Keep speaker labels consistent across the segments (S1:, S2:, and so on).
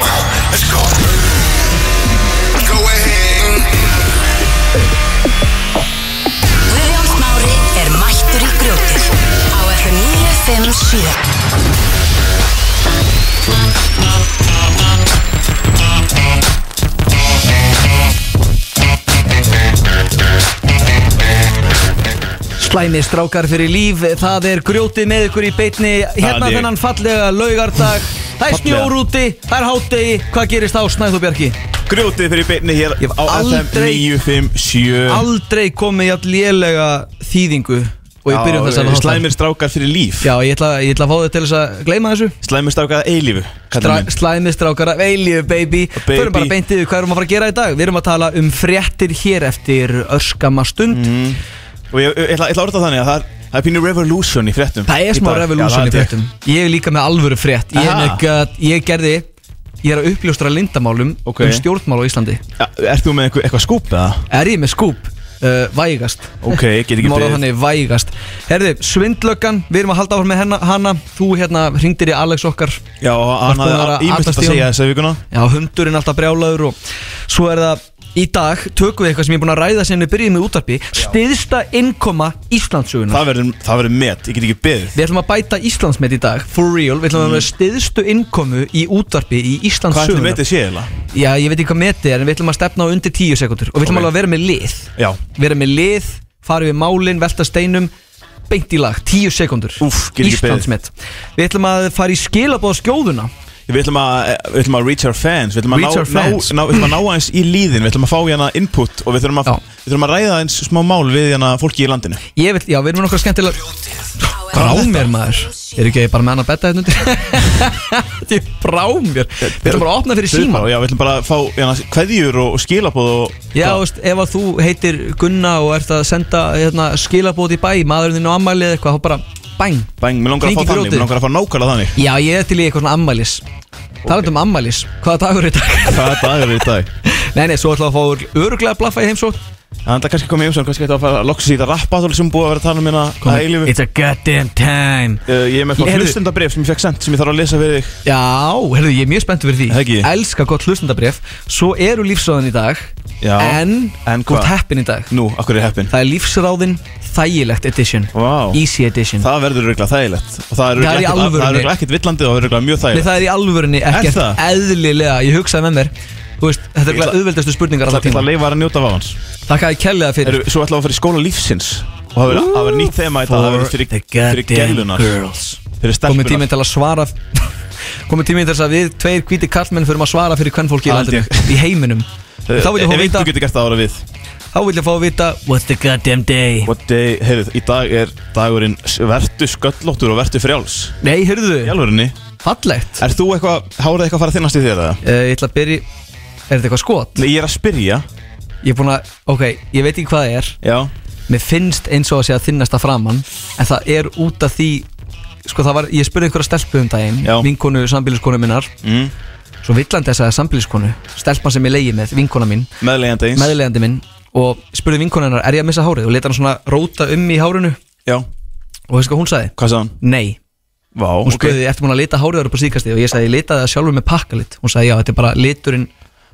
S1: Let's go. Go ahead.
S2: Guðjón Smári er mættur í grjótið á FM 957
S3: Slæmi strákar fyrir líf, það er grjótið með ykkur í beitni Hérna
S4: Það er ég.
S3: þennan fallega laugardag Það er
S4: Fallega.
S3: snjór úti, það er hátegi Hvað gerist á Snæðu Bjarki?
S4: Grjótið fyrir beinni hér
S3: Ég hef
S4: á FM
S3: aldrei-
S4: 957
S3: Aldrei komið jafn lélega þýðingu Og ég byrjum
S4: Já, eh,
S3: þess að
S4: Slæmir strákar fyrir líf
S3: Já, ég ætla, ég ætla að fá þau til þess að gleyma þessu
S4: Slæmir strákar að eilífu
S3: Stra,
S4: kallar minn.
S3: Slæmi strákar af eilíu baby
S4: baby.
S3: Förum bara beint yfir hvað erum að fara að gera í dag Við erum að tala um fréttir hér eftir örskama stund
S4: Og ég, ég, ég, ætla- ég ætla að orða það þannig að það er, það er pínu revolution í fréttum
S3: Það er
S4: í
S3: smá
S4: dag.
S3: revolution
S4: Já,
S3: í
S4: það held ég.
S3: fréttum Ég er líka með alvöru frétt Ég, er
S4: Aha.
S3: með gat- ég gerði Ég er að uppljóstra lindamálum
S4: Ok.
S3: um stjórnmál á Íslandi
S4: Já, Ert þú með einhver, eitthvað skúp eða?
S3: Er ég með skúp? Uh, vægast
S4: Ok, ég get ekki
S3: Mála
S4: beðið.
S3: þannig vægast Herði, svindlöggan, við erum að halda áfram með henna, hana Þú hérna hringdir í Alex okkar
S4: Já, og hann
S3: búin að vera
S4: hafði ímyndst
S3: aftast
S4: að
S3: í
S4: segja
S3: honum?
S4: þessa vikuna
S3: Já, hundurinn alltaf brjálaður og Svo er það í dag tökum við eitthvað sem ég er búin að ræða sem við byrjum með útarpi Stiðsta innkoma Íslandsugunar
S4: Það verður það verður met, ég get ekki beðið
S3: Við ætlum að bæta Íslandsmet í dag, for real Við ætlum að vera með stiðstu innkomu í útarpi í
S4: Mm. Hvað er þetta
S3: Íslandsugunar
S4: metið sé eiginlega?
S3: Já, ég veit ekki hvað metið er en við ætlum að stefna á undir 10 sekundur og við ætlum
S4: Ok.
S3: alveg að vera með lið
S4: Já,
S3: vera með lið, fara við málin, velta steinum beint í lag, 10 sekundur
S4: Úff, get ekki beðið.
S3: Íslandsmet Við ætlum að fara í skilabóð skjóðuna
S4: við ætlum að, eh, við ætlum að reach our fans Við ætlum að
S3: Reach
S4: ná,
S3: our fans.
S4: ná, ná, við ætlum að ná aðeins í líðin Við ætlum að fá hérna input Og við þurfum að,
S3: Já.
S4: við þurfum að ræða aðeins smá mál við hérna fólki í landinu
S3: Ég vil, já, við erum með nokkar skemmtilega Brá mér maður Er ekki bara með hann að betta hérna undir Þetta er brá mér Við ætlum bara að opna fyrir
S4: Þau
S3: síma
S4: bara, Já, við ætlum bara að fá hérna, kveðjur og, og skilabóð og,
S3: Já, þú veist, ef að þú heitir Gunna og ert að senda hérna, skilabóð í bæ Maðurinn þinn á ammæli eða eitthvað, þá bara bæng
S4: Bæng, mér langar að
S3: Hringi
S4: fá þannig,
S3: grjótið.
S4: mér langar að fá nákvæmlega þannig
S3: Já, ég er til í eitthvað svona ammælis okay. um ammælis, hvaða dagur er í dag?
S4: Hvaða dagur er í dag?
S3: nei, nei, svo ætlaðu að fá úr öruglega blaffa í heimsótt
S4: Það er kannski komið umsvönd, kannski þetta að fara að loksa síðan rappaðól sem búið að vera að tala um hérna að eilífu
S3: It's a goddamn time
S4: Uh, Ég er með
S3: Ég-
S4: svona
S3: heyrðu-
S4: hlustendabref sem ég fekk sendt sem ég þarf að lesa við þig
S3: Já, herðu, ég er mjög spenntur fyrir því
S4: Það ekki?
S3: Elska gott hlustandabref Svo eru lífsráðin í dag
S4: Já.
S3: En,
S4: En
S3: þú ert
S4: hvað?
S3: heppin í dag
S4: Nú, akkur er heppin
S3: Það er lífsráðin þægilegt edition
S4: Vá.
S3: Easy edition
S4: Það verður röglega þægilegt Og það er
S3: Það er í
S4: örugglega ekkert- það er
S3: alvörunni.
S4: röglega ekkert villandi og það er röglega mjög
S3: Nei, það er í alvörinni ekkert
S4: þægilegt það?
S3: eðlilega Ég hugsaði með mér Þú veist, þetta er
S4: Ég ætla-
S3: glæð auðveldastu spurningar
S4: Það
S3: alltaf
S4: er að
S3: tíma
S4: leifa að njóta af hans
S3: Takk að ég kelli það fyrir
S4: Eru- Svo ætlaðu að fara í skóla lífsins Og það verður- það verður nýtt þema í dag, það verður fyrir, fyrir gælunar Fyrir
S3: Komið
S4: stelpunar
S3: tíminn til að svara Komið tíminn til þess að við tveir hvíti kallmenn Förum að svara fyrir hvern fólki í
S4: Held
S3: landinu
S4: ég.
S3: Í heiminum
S4: Eh,
S3: Þá vil ég fá
S4: Ef
S3: að
S4: eitt
S3: vita
S4: þú getur gert það ára við
S3: Þá vil ég fá að vita What's the goddamn day
S4: What day, heyrðu, í dag er dagurinn vertu sköllóttur og vertu frjáls
S3: Nei, heyrðu
S4: Í alvörinni,
S3: Fallegt
S4: er þú eitthvað, hárið eitthvað að fara að þinnast í þér eða?
S3: uh, Ég ætla að byrja Er þetta eitthvað skot?
S4: Nei, ég er að spyrja
S3: Ég er búin að, ok, ég veit ekki hvað það er
S4: Já,
S3: Mér finnst eins og að sé að þinnast að framann En það er út af því Sko það var, ég spurði einhverja stelpu um daginn
S4: Já.
S3: Vinkonu, sambíliskonu minnar
S4: mm.
S3: Svo villandi þess að sambíliskonu Stelpan sem ég leiði með, vinkona mín
S4: meðlegjandi eins
S3: Meðlegandi minn Og spurði vinkonu hennar, er ég að missa hárið? Og leta hann svona róta um í hárinu
S4: Já,
S3: Og veist hvað hún sagði?
S4: hvað sagði hann?
S3: Nei
S4: Vá,
S3: Hún spurði, ertu búin að lita hárið þar upp á síkastíð Og ég sagði, ég litaði það sjálfur með pakkalit Hún sagði, já, þetta er bara liturinn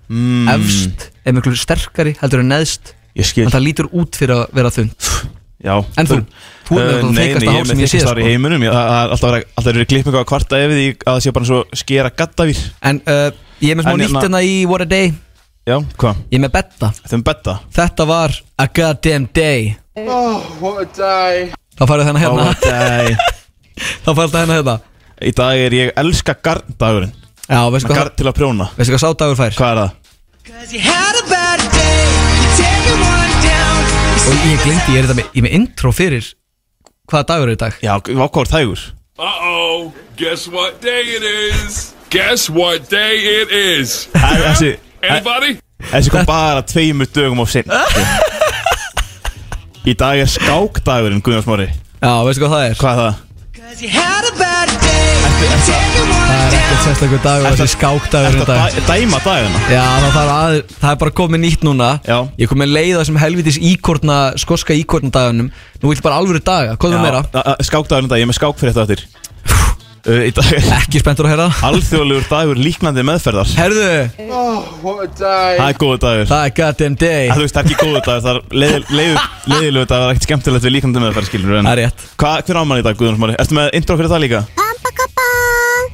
S4: mm,
S3: efst Er miklu sterkari, heldur en neðst
S4: Ég skil
S3: En það lítur út fyrir að vera þund
S4: Já
S3: En þú? Þú er með
S4: Eh,
S3: þetta
S4: nei,
S3: feikasta
S4: nei, ég
S3: hár
S4: er
S3: sem
S4: með
S3: ég sé,
S4: feikasta hár í
S3: sko.
S4: heiminum Ég- Það það er alltaf verið alltaf verið að klippa eitthvað að kvarta ef því að það sé bara svo skera gattavír
S3: En uh, ég er með smá
S4: En
S3: nýtt
S4: hérna-
S3: hérna í What a Day
S4: Já, hvað?
S3: Ég er með betta
S4: Þeim betta
S3: Þetta var a goddamn day Oh, what a day Þá færðu þennan hérna
S4: Ó,
S3: Þá færðu þennan hérna
S4: nei. Í dag er ég elska garndagurinn
S3: Já, veistu hvað,
S4: Garn til að prjóna
S3: veistu hvað sádagur fær
S4: Hvað er það?
S3: Og ég glindi, ég er þetta með, ég er með intro fyrir Hvaða dagur er í dag
S4: Já, ákváður þægur
S5: Uh oh. Guess what day it is? Guess what day it is?
S4: Æ, Þessi
S5: Anybody?
S4: Þessi kom bara tveimur dögum of sinn Í dag er skákdagurinn Guðjón Smári
S3: Já, veistu hvað það er
S4: Hvað er það?
S3: Það er ekkert sérstakur dagur, þessi skákdagur
S4: Ertu
S3: í
S4: að
S3: dag
S4: dæ- dæma dagina?
S3: Já, þá þarf að, það er bara komið nýtt núna
S4: Já.
S3: Ég kom með leiða sem helvitis íkorna, skoska íkorna dagunum Nú vil bara alvöru daga, hvað er meira?
S4: um Skákdagurinn dag, ég er með skák fyrir þetta eftir uh, í dag er
S3: Ekki spenntur að heyra það.
S4: Alþjóðlegur dagur líknandi meðferðar
S3: Herðu,
S4: Það er góðu dagur
S3: það er goddamn day
S4: En Þú veist, það er ekki góðu dagur Það er leiðilegu leið, leið, leið, dagur Það er ekkert skemmtilegt við líknandi meðferð skilur en
S3: Það er rétt.
S4: Hva, Hver ámann í dag, Guðjóns Mári? Ertu með intro fyrir það líka?
S6: パンパカパーン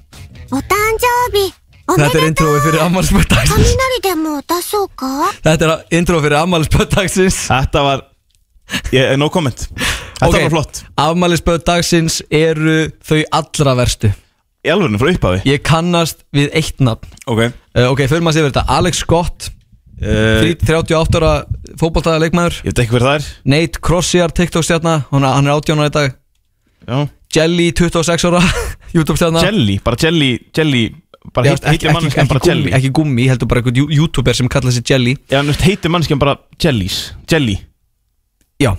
S6: お誕生日おめ
S3: Þetta
S6: で
S3: er
S6: とう
S3: introið fyrir ammælisböð dagsins
S6: 雷でも出そうか
S3: Þetta er introið fyrir ammælisböð dagsins
S4: Þetta var ég, eh, No comment Þetta var flott
S3: Afmælisböð dagsins eru þau allra verstu
S4: Í alvörinu frá upphafi Eh,
S3: Ég kannast við eitt nafn
S4: Ok
S3: uh, Ok, fyrir maður sér þetta Alex Scott,
S4: Uh,
S3: 38 ára fótboltaða leikmaður
S4: ég veit ekki hver það er
S3: Nate Crossiar, TikTok stjarnar Hann hann er 18 ára í dag
S4: Já.
S3: Ah. Jelly, 26 ára YouTube stjarnar
S4: Jelly, bara jelly, jelly Bara
S3: Já,
S4: heit, heitir
S3: ekki,
S4: mannskjan
S3: ekki,
S4: bara
S3: gummi,
S4: jelly
S3: ekki gummi, heldur bara einhvern jú- youtuber sem kallaði sig Jelly
S4: Já, en þú veist, heitir mannskjan bara jellies Jelly
S3: Já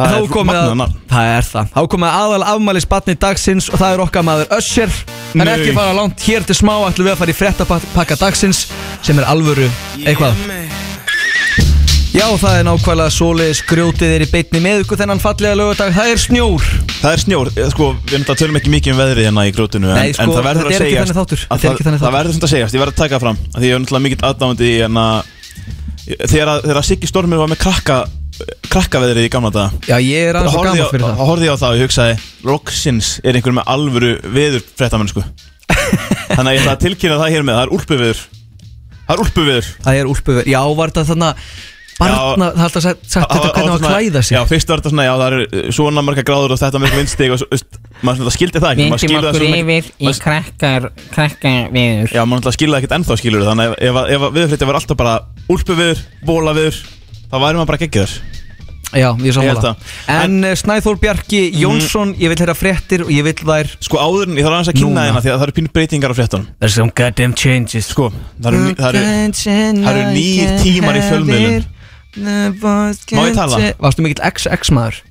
S4: Það
S3: Þá
S4: er
S3: komið
S4: magnað
S3: að-
S4: nafn.
S3: Það er það Þá komið að aðal afmæli spatni dagsins og það er okkar maður Össur En
S4: Nei.
S3: ekki fara langt hér til smá ætlum við að fara í frettapakka dagsins sem er alvöru eitthvað Já, það er nákvæmlega svoleiðis grjótið er í beitni með ykkur þennan fallega lögadag Það er snjór
S4: Það er snjór, eh, sko, við erum þetta tölum ekki mikið um veðrið hérna í grótinu en,
S3: Nei, sko,
S4: en það verður
S3: þetta
S4: að
S3: er ekki
S4: segjast
S3: þannig þáttur.
S4: að
S3: Þetta er ekki
S4: Það
S3: þannig
S4: það
S3: þáttur.
S4: verður þetta að segjast, ég verður að taka það fram af Því ég er náttúrulega mikill aðdáandi en að Þegar, að- þegar að Siggi Stormur var með krakka, krakkaveðrið í gamla daga
S3: Já, ég er aðeins og
S4: horfði
S3: gammal
S4: ég
S3: fyrir
S4: á-
S3: það
S4: horfði ég á það og ég hugsaði Roxins er einhver með alvöru veður frettamennsku Þannig að ég ætla að tilkynna það hér með Það er úlpuveður Það er úlpuveður
S3: Það er úlpuver Já, var þetta þarna Barna, það er alltaf sagt, sagt þetta hvernig á að
S4: svona-
S3: klæða sig
S4: Já, fyrst var þetta svona, já það eru svona marga gráður og þetta mörg vindstig og svo, veist, maður svona skildi það ekki maður
S7: Vindum
S4: skilur það
S7: okkur
S4: svo mikið-
S7: yfir í
S4: maður-
S7: krakkar, krakkaviður
S4: Já, maður náttúrulega skilur það ekkert ennþá skilur þannig að ef, ef, ef viðfrétti var alltaf bara úlpuveður, bólaveður þá væri maður bara geggið
S3: Já, ég
S4: Ég held
S3: sammála
S4: það. Mhm.
S3: En eh, Snæþór Bjarki Jónsson, ég vil heyra fréttir og ég vil þær
S4: Sko áður en ég þarf aðeins að kynna
S3: Núna.
S4: þeina því að það eru pínu breytingar á fréttunum
S3: There's some goddamn changes
S4: Sko, það eru, ný- það eru
S3: það
S4: eru nýir tímar í fjölmiðlum. Má ég tala?
S3: Varstu mikill XX maður?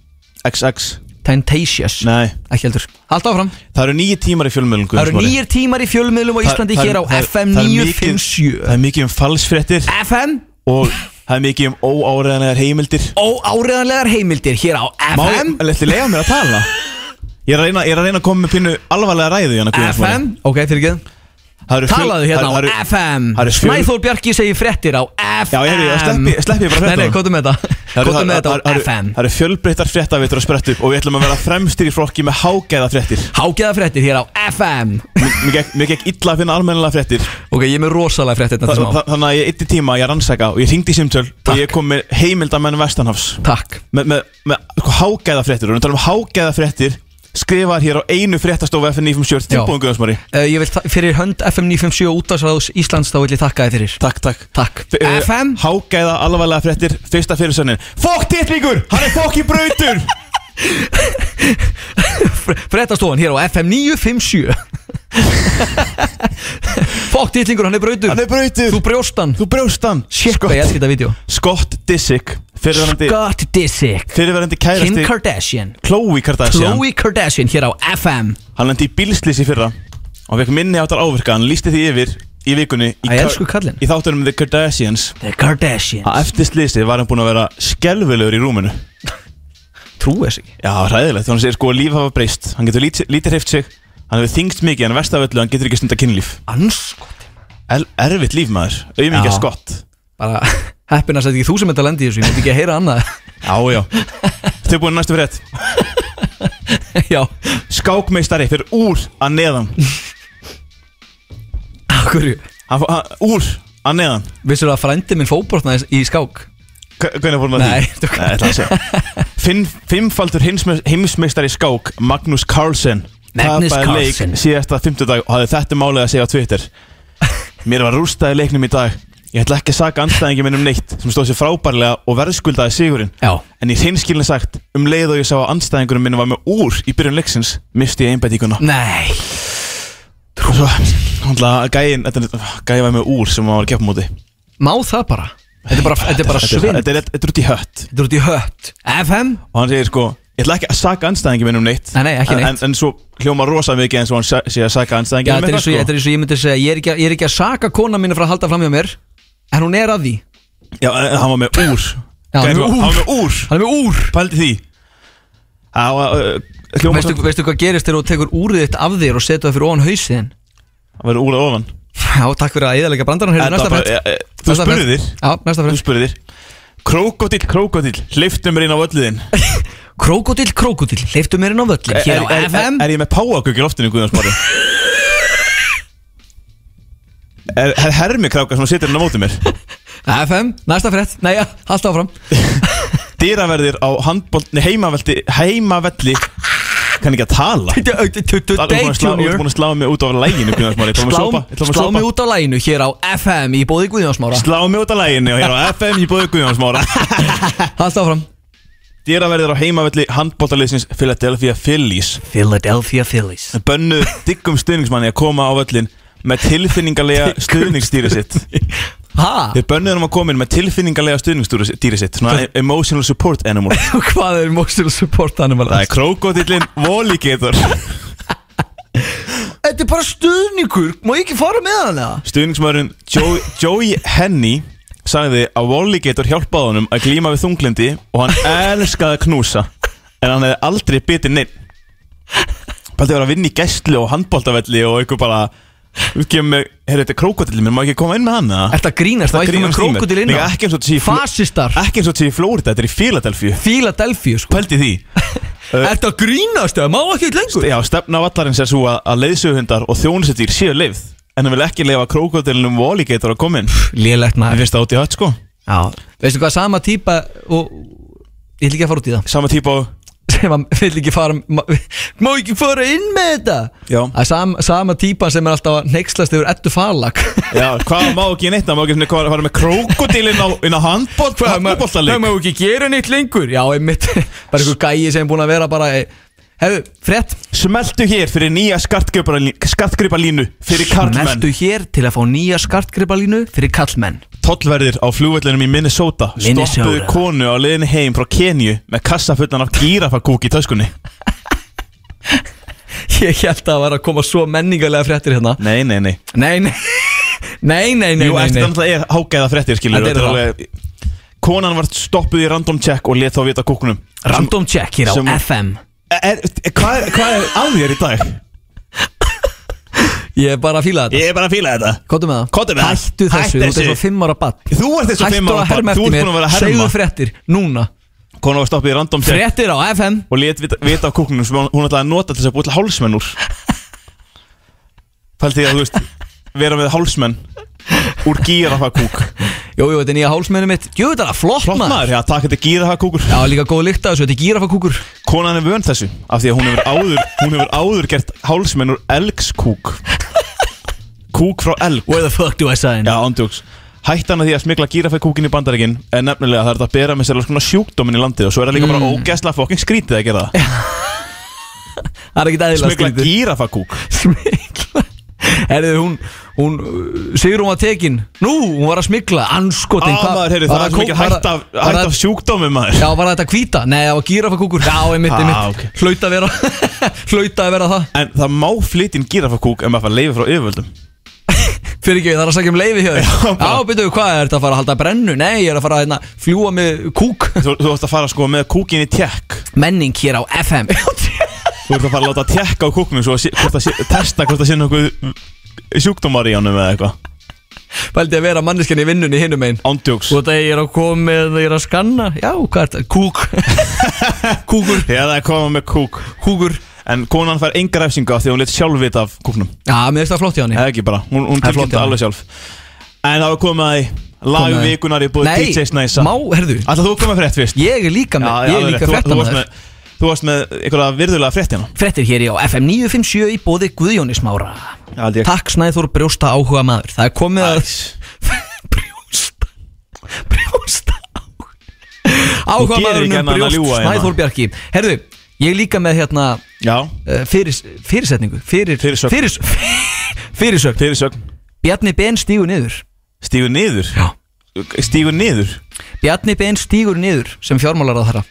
S4: XX
S3: Tentacious
S4: Nei,
S3: Ekki heldur Allt áfram
S4: það eru nýju tímar í fjölmjölum
S3: Það eru nýjir tímar í fjölmiðlum á Íslandi hér á FM 957
S4: Það er mikið um falsfréttir
S3: FM
S4: og það er mikið um óáreðanlegar heimildir
S3: og áreðanlegar heimildir hér á FM
S4: Lettu lega mér að tala um Ég er að reyna, ég er að, reyna að koma með pínu alvarlega ræðu hérna, Guðjón Smári.
S3: FM Ok, fyrir ekki
S4: Það eru fjöl-
S3: Talaðu hérna
S4: það-
S3: á
S4: það eru-
S3: FM
S4: það eru fjöl-
S3: Snæþór Bjarki segir fréttir á FM
S4: Já, ég hefði, ég sleppi- sleppi ég bara
S3: Nei, nei,
S4: fréttunum.
S3: kóttu með þetta
S4: Það eru-
S3: Kóttu með
S4: það-
S3: þetta á
S4: það eru-
S3: FM
S4: Það eru fjölbreyttar fréttavitur að spretta upp og við ætlum að vera fremstir í flokki með hágæða fréttir
S3: Hágeða fréttir hér á FM
S4: Mér- Mér gekk- mér gekk illa að finna almennilega fréttir
S3: Ok, ég er með rosalega fréttir hérna
S4: Þa,
S3: þetta smá
S4: þa- Þannig að ég ytti tíma, ég rannsaka og ég ringdi í simtöl og
S3: Takk.
S4: ég kom með heimildamenn Vestanhafs
S3: Takk
S4: með, með, með sko, hágæða fréttir og við talum um hágæða fréttir skrifaðar hér á einu fréttastofu FN957 tilbúin Guðjónsmári
S3: uh, Ég vil þa- fyrir hönd FM 957 útdagsráðs Íslands þá vil ég þakka þið fyrir
S4: Takk, takk
S3: Takk
S4: F eh,
S3: FM
S4: Hágæða alvarlega fréttir, fyrsta fyrirsönnin Fokk tittlingur, hann er fokk í brautur
S3: Frettastofan hér á FM 957 Fokk dýtlingur, hann er brautur
S4: Hann er brautur, Sko,
S3: Þú Sko. brjóst hann
S4: þú brjóst hann
S3: Shit,
S4: Scott-
S3: hvað ég elskir þetta vídeo
S4: Scott Disick, fyrirverandi,
S3: Scott Disick
S4: fyrirverandi
S3: Kim
S4: kærasti
S3: Kardashian
S4: Khloe Kardashian
S3: Khloe Kardashian hér á FM
S4: Hann lendi í bílslýs í fyrra og fekk minni áttar áverka, hann lísti því yfir í vikunni í,
S3: Æ,
S4: Ka-
S3: elsku kallinn.
S4: í þáttunum The Kardashians
S3: The Kardashian
S4: að eftir slýsið var hann búin að vera skelvilegur í rúminu
S3: Trúi þess ekki
S4: Já, ræðilegt, þannig að hann segir sko að líf hafa breyst Hann getur lítið, lítið hreift sig, hann hefur þingst mikið En verst af öllu, hann getur ekki stunda kynlíf
S3: Anskot
S4: El, Erfitt líf maður, auðvitað
S3: Já.
S4: skott
S3: Bara heppin að þetta ekki þú sem þetta lendi í þessu Ég veit ekki að heyra annað
S4: Já, já Þau búin næstu fyrir þetta
S3: Já
S4: Skákmeistari fyrir úr að neðan
S3: Akkur
S4: hann, fó- hann, Úr að neðan
S3: Vissur að frændi minn fóbrotnaði í skák
S4: Hve- Hvernig fór hann að
S3: Nei,
S4: því?
S3: þú-
S4: Nei, ætla að segja Finn, Fimmfaldur heimsme- heimsmeistari í skák Magnús Carlsen
S3: Magnús
S4: tapaði
S3: Carlsen.
S4: leik síðasta fymtudag og hafði þetta málið að segja á Twitter Mér var rústaði leiknum í dag Ég ætla ekki að saka andstæðingi minn um neitt sem stóð sér frábærlega og verðskuldaði sigurinn
S3: Já.
S4: En í hreinskilin sagt um leið og ég sá að andstæðingurum minn var með úr í byrjun leiksins misti ég einbætíkuna
S3: Nei
S4: Svo, hundla, gæin, þetta er- gæin var með úr sem hann var að gefa móti
S3: Má það bara Þetta er bara, þetta er bara svinn
S4: Þetta er- þetta er út í hött
S3: Þetta er út í hött FM
S4: og hann segir sko ég ætla ekki að saka anstæðingi minn um neitt
S3: Nei, nei, ekki
S4: En-
S3: neitt.
S4: en, en svo hljóma rosa mikið eins og hann sa- sé að saka sko. anstæðingi
S3: Já, þetta er eins og ég- þetta er eins og ég myndi að segja Ég er ekki, að- ég er ekki að saka kona mínu frá að halda fram hjá mér En hún er að því
S4: já, en hann var með úr
S3: Já, hann
S4: Gæti
S3: er með
S4: var-
S3: úr.
S4: hann var með úr
S3: Hann er með úr
S4: pældi því Á, uh, hljóma
S3: veistu, veistu hvað gerist þegar þú tekur úrið þitt af þér og setur það fyrir ofan hausin
S4: Það verður úrlega ofan
S3: Já, takk fyrir að eðalega brandarann Heyrðu,
S4: Þetta
S3: næsta
S4: bara-
S3: frétt.
S4: e- e- Þú
S3: Næsta
S4: spurðir
S3: frétt. Já, næsta
S4: Þú
S3: frétt
S4: spurðir Krókódill, krókódill, hliftu mér inn á völliðin
S3: Krókódill, krókódill, leiftu mér inn á völlin Hér á
S4: er, er,
S3: FM
S4: er ég með páagögg í loftinu, Guðjón Smári? er er hermikráka sem situr inn á móti mér?
S3: FM, næsta frétt, nei, ja, halda áfram
S4: Dýraverðir á handbóltni heimavelli Heimavelli Kann ekki að tala
S3: Þetta er auðvitað tuttu,
S4: Það er
S3: Day
S4: búin að slá- þú ert
S3: Junior
S4: búin að slá mig út á læginu, Guðjón Smári Ég ætla að
S3: Slá- um-
S4: sopa, ég ætla að
S3: Slá
S4: sopa.
S3: mig út á læginu hér á FM í bóði Guðjónsmára
S4: Slá mig út á læginu og hér á FM í búið Guðjón Smára
S3: Halda áfram
S4: Dýraverðir á heimavelli handbóltaliðsins Philadelphia Phillies
S3: Philadelphia Phillies
S4: bönnuð diggum stuðningsmanni að koma á völlin með tilfinningarlega stuðningsstýri sitt
S3: Ha?
S4: Þeir bönnuðum að koma inn með tilfinningarlega stuðningsstýri sitt Svona emotional support animal
S3: Hvað er emotional support animal?
S4: Það er krókodillin Voligator
S3: Þetta er bara stuðningur, má ég ekki fara með hann eða?
S4: Stuðningsmöðurinn Joey, Joey Henny sagði að Voligator hjálpaði honum að glíma við þunglindi og hann elskaði að knúsa en hann hefði aldrei bitið neitt Paldi að vera að vinna í gæstlu og handbóltavelli og eitthvað bara Þú kemur með, heyrðu þetta er krókodillin, mér má ekki koma inn með hann eða?
S3: Þetta grínast, það er ekki með
S4: grínast í mér.
S3: krókudil inn
S4: Nei, ekki eins og þetta sé í Fl-
S3: Fasistar,
S4: Ekki eins og þetta sé í Flórida, þetta er í Philadelphia
S3: Philadelphia sko
S4: Pældi því
S3: Þetta grínast, það má ekki lengur
S4: Eh. Já, stefna vallarins er svo að, að leiðsöguhundar og þjónusettir séu leið En hann vil ekki leiða krókodilinum og alligator að koma inn Það
S3: Lélegt maður
S4: finnst það átt í hött sko
S3: Já. Veistu hvað, sama típa og ég vil ekki að fara út í það
S4: Sama típa á
S3: sem að vil ekki fara ma- má ekki fara inn með þetta
S4: Já.
S3: Að sam, sama típa sem er alltaf að neykslast yfir ettu falag
S4: Já, hvað má ekki neitt, það má ekki svona hvað að fara með krókodilin á, inn á handbólt
S3: það má
S4: Handbóltaleik
S3: ekki gera neitt lengur já, einmitt, bara einhver gæi sem er búin að vera bara eh, hefðu, frett
S4: Smeltu hér fyrir nýja skartgripalínu fyrir karlmenn
S3: smeltu hér til að fá nýja skartgripalínu fyrir kallmenn
S4: Tollverðir á flugvellinum í Minnesota Stoppuðu
S3: Minnesota.
S4: konu á leiðinni heim frá Kenju með kassafullan af gírafakúk í töskunni
S3: ég held að það var að koma svo menningarlega frettir hérna
S4: Nei, nei, nei
S3: nei, nei, nei, nei, nei,
S4: Jú,
S3: nei,
S4: eftir
S3: nei.
S4: þannig er hágæða fréttir, skilur
S3: Þetta eru
S4: Konan var stoppuð í random check og let þá vita kúkunum
S3: random check hér á
S4: sem-
S3: FM
S4: er, er, hvað, er, hvað er að þér í dag?
S3: ég er bara að fíla þetta
S4: Ég er bara að fíla þetta
S3: Kottu með það
S4: Komdu með það.
S3: Hættu þessu,
S4: Hættu
S3: þú ert
S4: þessu.
S3: eins og fimm ára bann
S4: Þú ert þessu fimm
S3: Hættu
S4: ára
S3: að herma
S4: barn, þú
S3: eftir
S4: ert
S3: mér
S4: búin að vera að
S3: Segðu
S4: herma
S3: fréttir, núna
S4: Konan var stoppuð í random check
S3: Fréttir á FM
S4: og let vita, vita á kúkunum sem hún ætlaði að nota til þess að búið til hálsmenn úr Fældi ég að, þú veist, vera með hálsmenn úr gírafakúk
S3: Jú, jú, þetta er nýja hálsmennu mitt Jú, þetta er að flott
S4: Flott
S3: maður
S4: maður, já, takk þetta er gírafakúkur
S3: Já, líka góð lykt af þessu, þetta er gírafakúkur
S4: Konan er vön þessu af því að hún hefur áður, hún hefur áður gert hálsmenn úr elgskúk Kúk frá elg
S3: Where the fuck do I sign?
S4: Já, ándjóks Hættan að því að smikla gírafækúkin í bandaríkin er nefnilega að það er þetta að bera með sér alls konar sjúkdómin í landið og svo er það líka bara ógæsla fokking skrítið að gera það
S3: Það er ekkit eðlilega
S4: Smikla
S3: skrítið
S4: gírafækúk
S3: Smikla Herðu, hún, hún, uh, sigur hún var tekin Nú, hún var að smikla, anskotin
S4: Á Ah, maður, heyri, það er svo mikið hætt af, hætt af sjúkdómi maður
S3: Já, var þetta hvíta? Nei, það var gírafakúkur Já, einmitt,
S4: Ah,
S3: einmitt
S4: ok.
S3: Hlaut að vera Hlaut að vera það
S4: En það má flytja inn gírafækúk ef maður fær leiði frá yfirvöldum
S3: Fyrir ekki, það er að segja um leiði hjá þér
S4: Já, bara-
S3: Já, byrju, hvað er þetta að fara að halda brennu? Nei, ég er að fara að hérna, fljúa með kúk
S4: Þú, þú ætti að fara sko með kúkin í tjekk
S3: Menning hér á FM
S4: Þú ætti að fara að láta tjekka á kúknum svo að sé, hvort það sé, testa hvort það sé nokkuð sjúkdómar í honum eða eitthvað
S3: Fældi að vera manneskjan í vinnunni hinum einn
S4: Ándjóks
S3: Og þetta ég er að koma með, ég er að skanna Já, hvað er þetta? Kúk Kúkur,
S4: Þegar það er koma með kúk
S3: kúkur
S4: En konan fær enga refsingu af því að hún let sjálf vita af kúknum
S3: Já, mér finnst það flott hjá hann
S4: eða ekki bara, hún, hún
S3: Það er flott,
S4: tilkynnti
S3: já.
S4: alveg sjálf en það var komið að því lag
S3: Komið að því.
S4: vikunar í búið
S3: Nei,
S4: DJ Snæsa
S3: má, herðu
S4: Alltaf þú komið frétt fyrst
S3: Ég er líka með, ég er líka
S4: þú, þú, varst
S3: frettamæður
S4: með, þú varst með einhverja virðulega frétt hérna
S3: Frettir hér í á FM 957 í bóði Guðjónismára
S4: Aldrei.
S3: Takk Snæður brjósta áhuga maður Það er komið að Brjósta Brjósta áhuga Áhuga
S4: gerir
S3: maðurinn
S4: ekki
S3: um
S4: annað en að
S3: brjóst
S4: ljúga hérna.
S3: Snæður Bjarki Herðu, ég er líka með hérna
S4: já,
S3: uh, fyrir, fyrirsetningu fyrir,
S4: Fyrirsögn.
S3: fyrir, Fyrirsögn
S4: fyrir sögn
S3: Bjarni Ben stígur niður
S4: stígur niður
S3: Já.
S4: stígur niður
S3: Bjarni Ben stígur niður sem fjármálar að þarra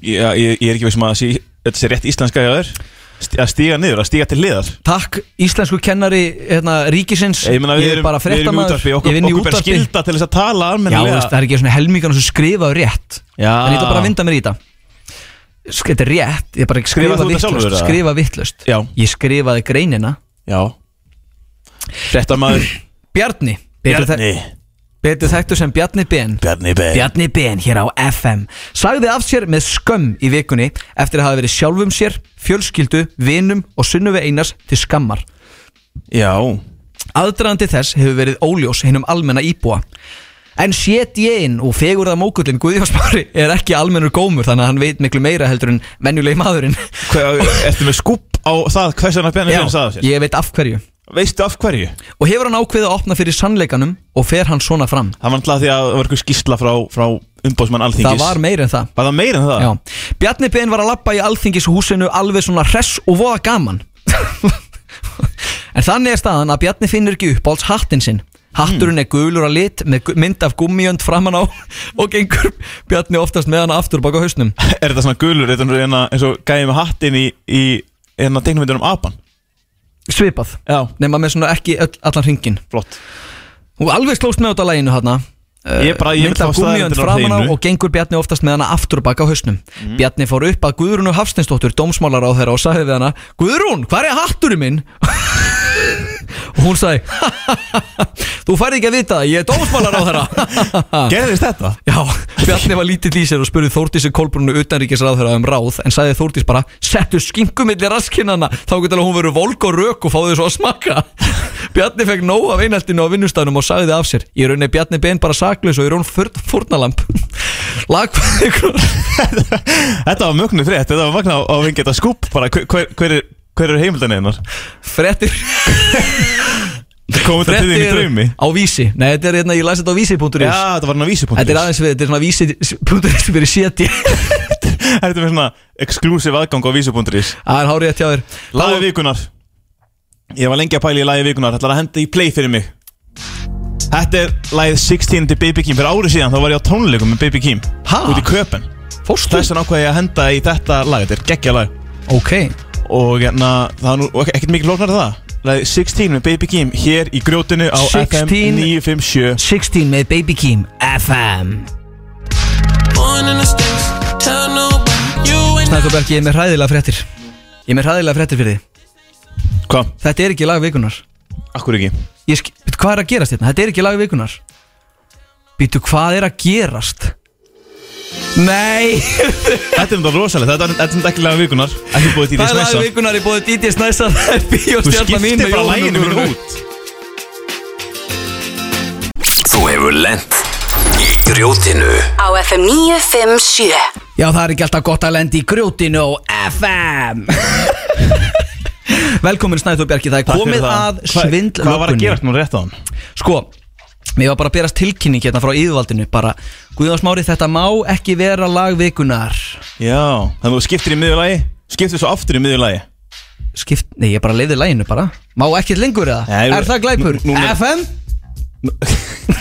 S4: ég, ég, ég er ekki veist maður að sé, þetta sé rétt íslenska hjá þér Sti- að stíga niður, að stíga til liðar
S3: Takk íslensku kennari hérna, ríkisins
S4: ég meina við
S3: er
S4: erum,
S3: bara
S4: við erum í
S3: fréttamaður
S4: útvarfi okkur,
S3: Ég vinn í
S4: okkur ber
S3: útvarpi
S4: skilda til þess að tala
S3: Já, þú
S4: almennilega
S3: veist, það er ekki svona helmingan sem skrifaðu rétt
S4: Já.
S3: En ég ætla bara að vinda mér í þetta sk- Þetta er rétt, ég bara ekki
S4: Skrifaðir
S3: skrifa
S4: þú þetta sjálfur,
S3: vittlust
S4: eða?
S3: Skrifa vittlust
S4: Já.
S3: Ég skrifaði greinina
S4: Já Þetta maður
S3: Bjarni Betur þek- Betur þekktu sem Bjarni Ben
S4: Bjarni B
S3: Bjarni Ben hér á FM Sagði af sér með skömm í vikunni Eftir að hafa verið sjálfum sér, fjölskyldu, vinum og sunnuvi einars til skammar
S4: Já
S3: Aðdraðandi þess hefur verið óljós hinnum almenna íbúa En sétjén og fegurða mókullin Guðjónsmári er ekki almennur gómur þannig að hann veit miklu meira heldur en venjulegi maðurinn
S4: Hvað, Ertu með skúp á það Hvers vegna Bjarni B sagði af sér
S3: ég veit af hverju
S4: Veistu af hverju?
S3: Og hefur hann ákveðið að opna fyrir sannleikanum og fer hann svona fram
S4: Það var alltaf því að það var eitthvað skýrsla frá, frá umbóðsmann alþingis
S3: Það var meir en það
S4: Var það meira en það?
S3: Já. Bjarni Ben var að labba í alþingishúsinu alveg svona hress og voða gaman En þannig er staðan að Bjarni finnur ekki uppáhalds hattinn sinn Hatturinn er gulur að lit með gu- mynd af gummiönd framan á og gengur Bjarni oftast með hana aftur bak á hausnum
S4: Er þetta svona gulur, þetta er svona hérna eins og gæði með hattinn í, í hérna teiknumvindunum apan?
S3: Svipað
S4: Já
S3: Nefna með svona ekki öll, allan hringin
S4: Flott
S3: Og alveg slóst með út af læginu hérna
S4: Ég bara- ég vil
S3: mynd af
S4: fá staðreyndirnar
S3: gummiönd
S4: á
S3: framan á
S4: hreinu. Mhm.
S3: og gengur Bjarni oftast með hana aftur bak á hausnum Bjarni fór upp að Guðrúnu Hafsteinsdóttur dómsmálar á þeirra og sagði við hana Guðrún, hvar er hatturinn minn? og hún sagði Þú færði ekki að vita það, ég er dómsmálar á þeirra
S4: Gerðist þetta?
S3: Já, Bjarni var lítill í sér og spurði Þórdísi Kolbrúnu utanríkisráðherra um ráð en sagði Þórdís bara, settu skinkum milli raskinnana, þá getur hún verið volk og rök og fáði svo að smaka Bjarni fekk nóg af einhaldinu á vinnustæðnum og sagði af sér, í rauninni er Bjarni ben bara saklaus og í raun fyrr- fórnalamb Lagfæði ykkur
S4: Þetta var mögnu frétt, þetta var magna á vingi þetta skúp bara hver, hver, hver, er- hver eru heimildan einar?
S3: frettir
S4: Komum þetta til þín í draumi?
S3: á vísi, nei þetta er hérna, ég læs þetta á
S4: Já,
S3: vísi.is
S4: þetta var
S3: Þetta
S4: hann á
S3: er
S4: vísupunktur
S3: aðeins við, þetta er svona vísi.is fyrir séti
S4: Þetta er með svona exclusive aðgang á vísupunkturis
S3: Það er hárið að tjá þér
S4: Lagi vikunar Ég var lengi að pæla í lagi vikunar Þetta er að henda í play fyrir mig Þetta er lagið 16 til Baby Keem Fyrir árið síðan þá var ég á tónleikum með Baby Keem
S3: Ha?
S4: Út í köpen
S3: Fórstu?
S4: Þess vegna ákvað ég að henda í þetta lag Þetta er geggja lag
S3: Ok,
S4: Og hérna, það er nú og ekkert mikið lóknar en það Lagið 16 með Baby Keem Hér í grjótinu á
S3: 16.
S4: FM 957
S3: 16 með Baby Keem FM Snæðurberg, ég er með hræðilega fréttir Ég er með hræðilega fréttir fyrir þið
S4: Hvað?
S3: Þetta er ekki lag vikunar
S4: Akkur ekki?
S3: Ég sk- Bíddu, Hvað er að gerast hérna? Þetta er ekki lag vikunar Býtu, hvað er að gerast? Nei,
S4: Þetta er þetta rosalega, þetta er- þetta er þetta ekki lagið vikunar Ekki búið
S3: það
S4: til því
S3: er lag
S4: snessa
S3: vikunar í bóði DJ Snæsa Það er
S4: Þú
S3: bíóstjarnar mín
S4: skiptir
S3: með
S4: bara
S3: Jóhannu
S4: læginu mín
S3: Guðrúnu.
S4: út
S1: Þú hefur lent í grjótinu
S2: Á FM 957
S3: Já, það er ekki alltaf gott að lendi í grjótinu og FM Velkomin Snæður Bjarki, það er
S4: Takk fyrir
S3: komið
S4: það.
S3: að
S4: Hvað-
S3: svindlökunni
S4: Hvað var að gerast nú rétt á hann?
S3: Sko, mér var bara að berast tilkynning hérna frá yfirvaldinu Bara, Guðjónsmári, þetta má ekki vera lagvikunar
S4: Já, þannig að þú skiptir í miðjulagi Skiptir svo aftur í miðjulagi
S3: Skipt, nei, ég bara leiði læginu bara Má ekkert lengur eða?
S4: Nei,
S3: er það glæpur?
S4: nú- núna-
S3: FM?
S4: Ég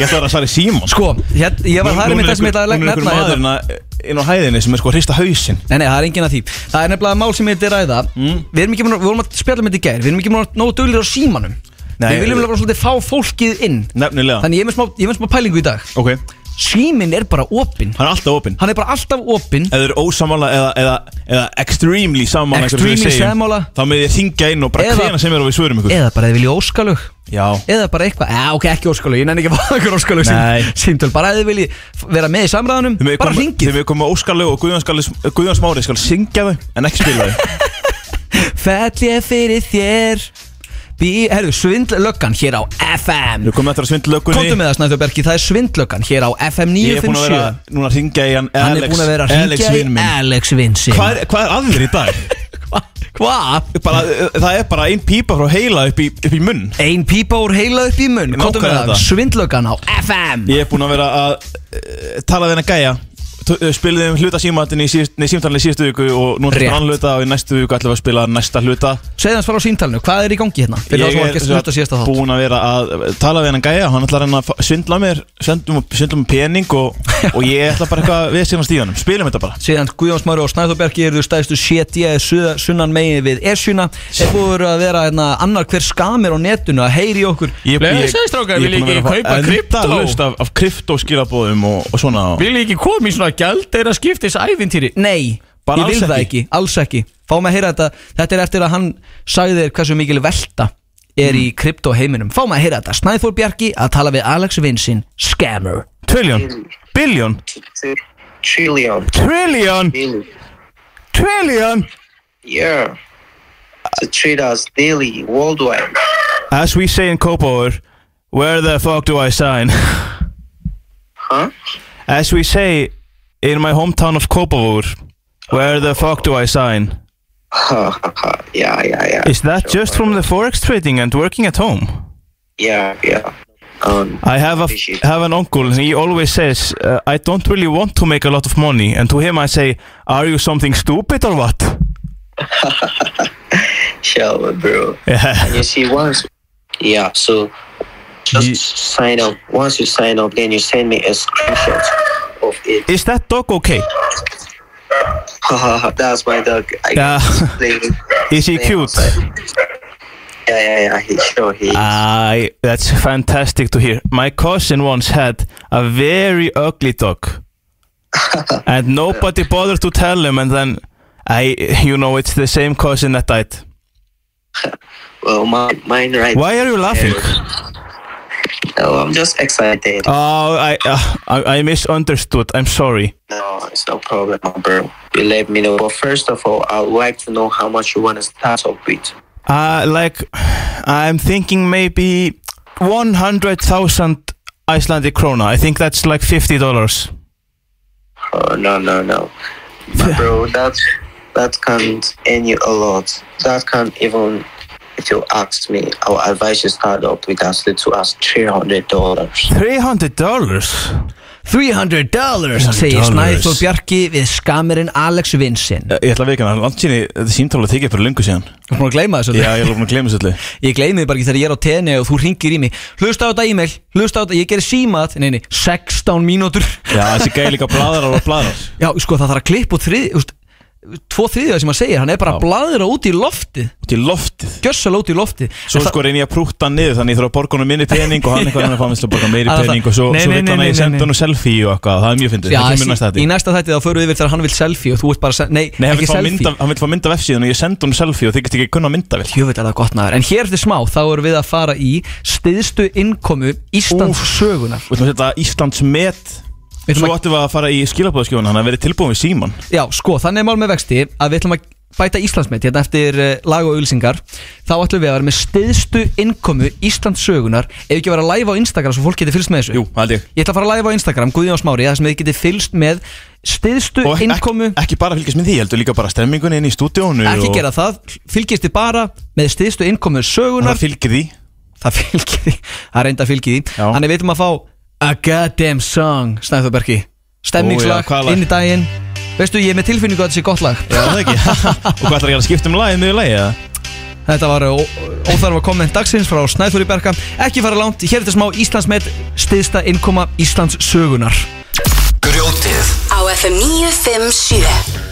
S4: ætla að vera að svara í Símon
S3: Sko, hér, ég var það er mitt það sem ég ætlaði að
S4: Nú
S3: legg-
S4: er einhver
S3: nefna hérna
S4: maðurinn að- inn á hæðinni sem er sko að hrista hausinn
S3: Nei, nei, það er enginn að því Það er nefnilega mál sem ég þetta ræða
S4: Mm.
S3: Við erum ekki múin að, við vorum að spjalla með þetta í gær Við erum ekki múin að nógu döglir á símanum
S4: Nei,
S3: Við viljum
S4: við-
S3: bara svolítið fá fólkið inn
S4: Nefnilega
S3: Þannig ég er með smá, ég er með smá pælingu í dag
S4: Ok,
S3: Síminn er bara opinn
S4: hann er alltaf opinn
S3: Hann er bara alltaf opinn
S4: Ef þau eru ósamála eða, eða, eða extremely samála
S3: Extremely sammála.
S4: Þá með ég þingja inn og bara
S3: Eða-
S4: hvena sem er og við svörum ykkur
S3: Eða bara þið viljið óskalög
S4: Já
S3: Eða bara eitthvað, já ok, ekki óskalög Ég nenni ekki að fá okkur óskalög
S4: Nei.
S3: sín, Síntöl, bara ef þið viljið f- vera með í samræðanum
S4: Þið megið
S3: Bara
S4: koma-
S3: ringið,
S4: Þið með komum óskalegu og Guðjón skal- Guðjón Smári skal syngja þau En ekki spila þau
S3: fell ég fyrir þér Bí, herru, svindlöggan hér á FM
S4: Þið komum eftir að svindla löggunni
S3: Komdu með það Snæður Bergi, það er svindlöggan hér á FM
S4: Ég er búin að
S3: 957
S4: vera Núna að hringja í hann
S3: Hann er
S4: Alex
S3: búin að vera að
S4: Alex
S3: ringja
S4: vinn
S3: í
S4: minn
S3: Alex Vinsin
S4: Hvað er, hvað er að þér í dag?
S3: Hvað?
S4: bara, eh, það er bara ein pípa frá heila upp í, upp í munn
S3: Ein pípa úr heila upp í munn
S4: Ég
S3: Komdu með
S4: nákvæmlega
S3: það,
S4: þetta.
S3: svindlöggan á FM
S4: Ég er búinn að vera að uh, tala við hennar gæja T- eh, Spilaði um hluta símatin í síðust- nei, símtalinu í síðustu viku og nú
S3: Rétt.
S4: tekur hann hluta og í næstu viku ætlum við að spila næsta hluta
S3: Segðu hans fara á símtalinu, hvað er í gangi hérna? Fyrir það sem var
S4: Ég
S3: ekki að hlusta síðasta þátt
S4: búinn að vera að tala við hennar gæja hann ætlar hennar að fá- svindla mér svindla mér- svindla mér um pening og, og ég ætla bara eitthvað að við síðan stíðanum spilum þetta bara
S3: Síðan Guðjón Smári og Snæður Bergi eru stæðstu setja sunnan megin við Esjuna Þeir búið að vera hérna, annar hver skamir á netinu að heyri í okkur
S4: Ég,
S8: Blessaði, strákar, viljið ekki kaupa kryptó?
S4: Endalaust af, af krypto skilabóðum og, og svona og
S8: Vil ég ekki koma í svona gældeira skiptis ævintýri?
S3: Nei,
S4: Bara
S3: Ég vil
S4: alls
S3: það
S4: ekki.
S3: ekki, alls ekki Fáum að heyra þetta, þetta er eftir að hann sagði þér hversu mikil velta er í
S4: Mm.
S3: kryptoheiminum Fáum að heyra þetta, Snæþór Bjarki að tala við Alex Vinsinn, Scammer
S4: Trillion Billion
S9: trillion.
S4: Trillion
S9: Daily.
S4: Trillion
S9: Yeah. The traders daily worldwide.
S4: As we say in Kópavur Where the fuck do I sign?
S9: Huh?
S4: As we say in my hometown of Kópavur Where the fuck do I sign?
S9: yeah, yeah, yeah.
S4: Is that just from the forex trading and working at home?
S9: Yeah, yeah. Um,
S4: I have a
S9: Appreciate it.
S4: have an uncle and he always says uh, I don't really want to make a lot of money and to him I say are you something stupid or what?
S9: shell, bro.
S4: Yeah.
S9: You see, once, yeah, so just
S4: Ye-
S9: sign up. Once you sign up, then you send me a screenshot of it.
S4: Is that dog okay?
S9: That's my dog. I
S4: Yeah.
S9: playing.
S4: Is he
S9: playing
S4: cute?
S9: outside. Yeah, yeah, yeah. He, sure, he.
S4: Ah.
S9: is.
S4: I that's fantastic to hear. My cousin once had a very ugly dog and nobody bothered to tell him and then I you know it's the same cousin that died.
S9: well, mine, mine, right?
S4: Why are you laughing?
S9: No, I'm just excited.
S4: Oh, I uh, I, I misunderstood. I'm sorry.
S9: No, it's no problem, bro. You let me know. But first of all, I'd like to know how much you want to start up with.
S4: Uh, like, I'm thinking maybe 100,000 Icelandic krona. I think that's like $50.
S9: Oh, no, no, no. bro, that, that can't earn you a lot. That can't even, if you ask me, I'll advise you start up with as little as $300.
S4: $300?
S3: 300 dollars, segir Snæþór Bjarki við Scammerinn Alex Vinsinn
S4: Ég ætla að veika hann, langt síni, þetta síntála þykir fyrir lungu síðan.
S3: Þú er búin að gleyma þessu
S4: Já, ég er lófum að gleyma svolítið.
S3: Ég gleymi þið bara ekki þegar ég er á tenni og þú ringir í mig Hlusta á þetta e-mail, hlusta á þetta, ég gerir símat Nei, nei, 16 mínútur
S4: Já, þessi gæði líka bladrar og bladrar.
S3: Já, sko það þarf að klippa út þrið, úst, Tvo þriðja sem hann segir, hann er bara að bladra út í loftið
S4: Út í loftið.
S3: Gjössal út í loftið
S4: Svo sko reyni ég að prúta hann niður, þannig ég þarf að borga hann minni pening og hann eitthvað annar fámist að borga meiri
S3: Að það-
S4: pening og svo,
S3: Nei, nei,
S4: svo vill hann
S3: nei,
S4: að
S3: nei,
S4: ég
S3: nei.
S4: senda hann selfie og eitthvað, það er mjög fyndið.
S3: Já,
S4: Það
S3: í,
S4: kemur
S3: í
S4: næsta þetta.
S3: næsta þætti þá förum við yfir þegar hann vil selfie og þú ert bara, að sen- nei,
S4: Nei, hann
S3: ekki
S4: vill fá
S3: selfie
S4: mynd af- hann vill fá mynd af F-síðun og ég senda hann selfie og þykist ekki kunna mynda vel.
S3: Jöfnveld er það gott maður, en hér eftir smá þá erum við að fara í stiðstu innkomu Íslands sögunar
S4: Við ætlum að setja Íslands met
S3: Við ætlum
S4: Svo
S3: að-
S4: ættum við að fara í skilabóðaskjóðan Þannig að verið tilbúin við Símon
S3: Já, sko, þannig er mál með vexti að við ætlum að bæta Íslandsmet hérna eftir uh, lag og ulsingar þá ætlum við að vera með stiðstu innkomu Íslands sögunar ef ekki að vera live á Instagram svo fólk getur fylgst með þessu
S4: það held ég
S3: Ég ætla að fara live á Instagram, Guðjón Smári þar sem þið getur fylgst með stiðstu
S4: Og
S3: innkomu
S4: ekki, ekki bara fylgjast með því, heldur líka bara stemmingunni inn í stúdíónu
S3: Ekki
S4: og
S3: gera það, fylgist þið bara með stiðstu innkomu
S4: og
S3: sögunar
S4: Það fylgir því
S3: það fylgir því það reynda fylgir því
S4: Já.
S3: þannig við ætlum að fá a goddamn song Snæður Berki
S4: Ó,
S3: stemmingslag
S4: já, hvaða lag?
S3: inn í daginn veistu ég er með tilfinningu að þetta sé gott lag
S4: Já, það ekki Og hvað ætlar ekki að skipta um lagið miður lagið eða?
S3: þetta var ó- óþarfa komment dagsins frá Snæður Berka ekki fara langt hér er þetta smá Íslandsmet stiðsta innkoma Íslands sögunar
S1: Grjótið
S2: Á FM 957